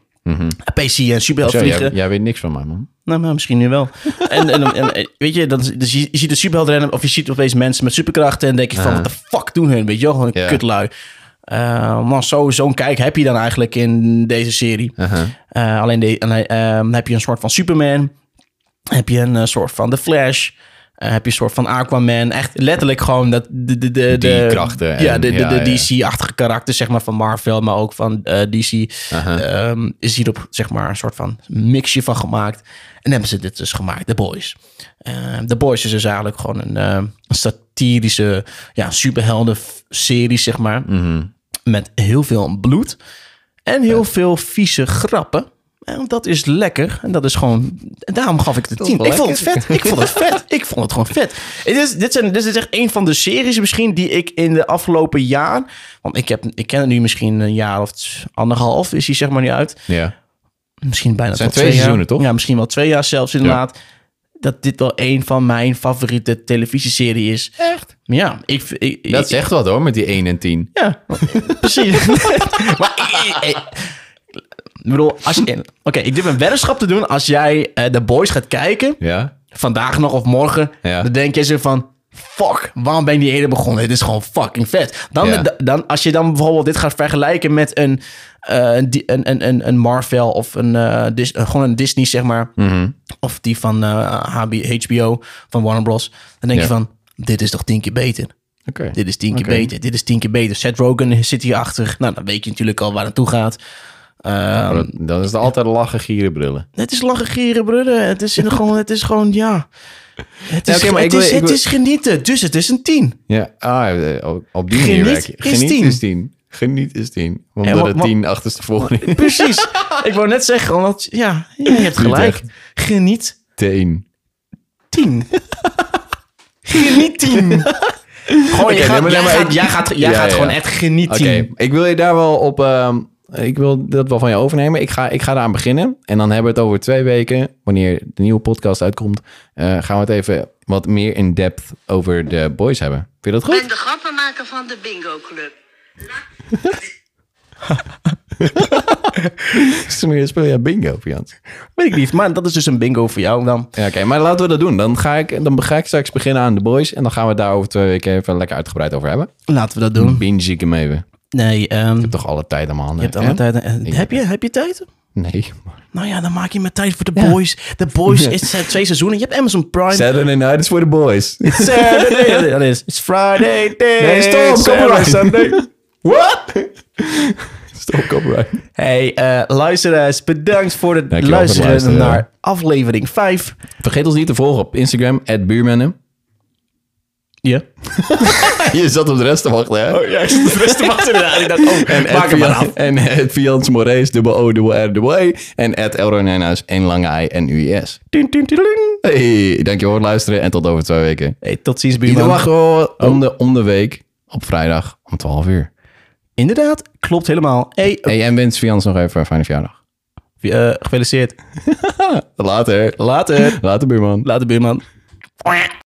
PC en superheld Zo, vliegen. jij, jij weet niks van mij, man. Nou, maar misschien nu wel. En, en, en- en weet je, dan, dus je, je ziet een superheld rennen of je ziet opeens mensen met superkrachten en denk je van, wat de fuck doen hun? Weet je wel, gewoon een Ja. kutlui. Eh, maar zo- zo'n kijk heb je dan eigenlijk in deze serie. Eh, alleen de, alleen, ehm, heb je een soort van Superman, heb je een eh, soort van The Flash, eh, heb je een soort van Aquaman. Echt letterlijk gewoon dat de, de, Die de, de- krachten en- ja, de, de, ja, de ja. DC-achtige karakter zeg maar, van Marvel, maar ook van eh, DC. Uh-huh. ehm, is hierop zeg maar, een soort van mixje van gemaakt. En hebben ze dit dus gemaakt, The Boys. Ehm The Boys is dus eigenlijk gewoon een ehm, satirische ja, superhelden-serie, zeg maar. Mhm. Met heel veel bloed en heel veel vieze grappen. En dat is lekker. En dat is gewoon... en Daarom gaf ik het een 10. wel Ik vond het lekker. vet. Ik vond het [laughs] vet. Ik vond het gewoon vet. Het is, dit, zijn, dit is echt een van de series misschien die ik in de afgelopen jaar... Want ik, heb, ik ken het nu misschien een jaar of t- anderhalf is hij zeg maar nu uit. Ja. Misschien bijna zijn tot twee jaar. seizoenen, toch? Ja, misschien wel twee jaar zelfs inderdaad. Dat dit wel een van mijn favoriete televisieserie is. Echt? Ja, ik... ik Dat ik- zegt wat hoor, met die 1 en 10. ja, precies. [laughs] maar eh, eh, ik bedoel, als je... Oké, ik durf een weddenschap te doen. Als jij eh The Boys gaat kijken, Ja? vandaag nog of morgen, Ja. dan denk je zo van... Fuck, waarom ben ik niet eerder begonnen? Dit is gewoon fucking vet. Dan, Ja. da- dan, als je dan bijvoorbeeld dit gaat vergelijken met een, eh, een, di- een, een, een, een Marvel of een, eh, Dis- eh, gewoon een Disney, zeg maar. Mhm. Of die van eh, HB HBO, van Warner Bros. Dan Ja. denk je van, dit is toch tien keer beter. Oké. Dit is tien keer Oké. beter. Dit is tien keer beter. Seth Rogen zit hier achter. Nou, dan weet je natuurlijk al waar het toe gaat. Ehm, Maar dat- Dan is het altijd lachen, gieren, brullen. het is lachen, gieren, brullen. Het [laughs] is, in gewoon, het is gewoon, ja. Het Ja, is, oké, maar het ik is, wil- ik het wil- is genieten. Dus het is een [laughs] tien. Ja, ah, eh, op- op die manier Geniet werk je. is 10. is 10. Geniet is 10. Omdat wa- het wa- 10 achterstevoren is. Precies. ik wou net zeggen, omdat, ja, je hebt gelijk. echt. Geniet 10. tien. Geniet [laughs] tien. Gewoon, je nee, gaat- maar- jij nee, maar gaat- ik- jij gaat jij Ja, gaat ja. gewoon echt Oké, genieten. ik wil je daar wel op... ehm, ik wil dat wel van je overnemen. Ik ga, ik ga eraan beginnen. En dan hebben we het over twee weken, wanneer de nieuwe podcast uitkomt... eh, gaan we het even wat meer in depth over de boys hebben. Vind je dat goed? ben de grappenmaker van de Bingo Club. [laughs] Speel je bingo, Fians? Weet ik niet, maar dat is dus een bingo voor jou dan. Ja, oké, maar laten we dat doen. Dan ga, ik, dan ga ik straks beginnen aan de boys. En dan gaan we het daar over twee weken even lekker uitgebreid over hebben. Laten we dat doen. Binge ik hem even. Nee, ehm, Toch alle tijd aan mijn handen. Hm. je hebt alle tijd. eh, Heb je, heb je tijd? Nee, [laughs] maar... Nou ja, dan maak je met tijd voor The Boys. The [laughs] Boys is zijn twee seizoenen. Je hebt Amazon Prime. Saturday night is voor de boys. Saturday. Dat is. It's Friday day. Nee, stop, copyright. Saturday. Sunday. What? [laughs] stop, copyright. Hey, eh, luisteraars, bedankt voor het Dankjewel voor het luisteren, luisteren. naar aflevering 5. Vergeet ons niet te volgen op Instagram, buurmannen. Ja. Je zat op de rest te wachten, hè? Oh, Ja, ik zit de rest te wachten inderdaad. Ik dacht, oh, En maak hem maar af. En het Fians Moraes, dubbel O, dubbel R, dubbel E. En het Elro Nijnhuis, één lange I en UIS. Tien, tien, tien, tien. Hey, dankjewel voor het luisteren en tot over twee weken. Hey, tot ziens, Iedere buurman. dag gewoon om de, om de week op vrijdag om 12 uur. Inderdaad, klopt helemaal. Hey, Hey, en wens Fians nog even een fijne verjaardag. eh, gefeliciteerd. Later. Later. Later, buurman. Later, buurman.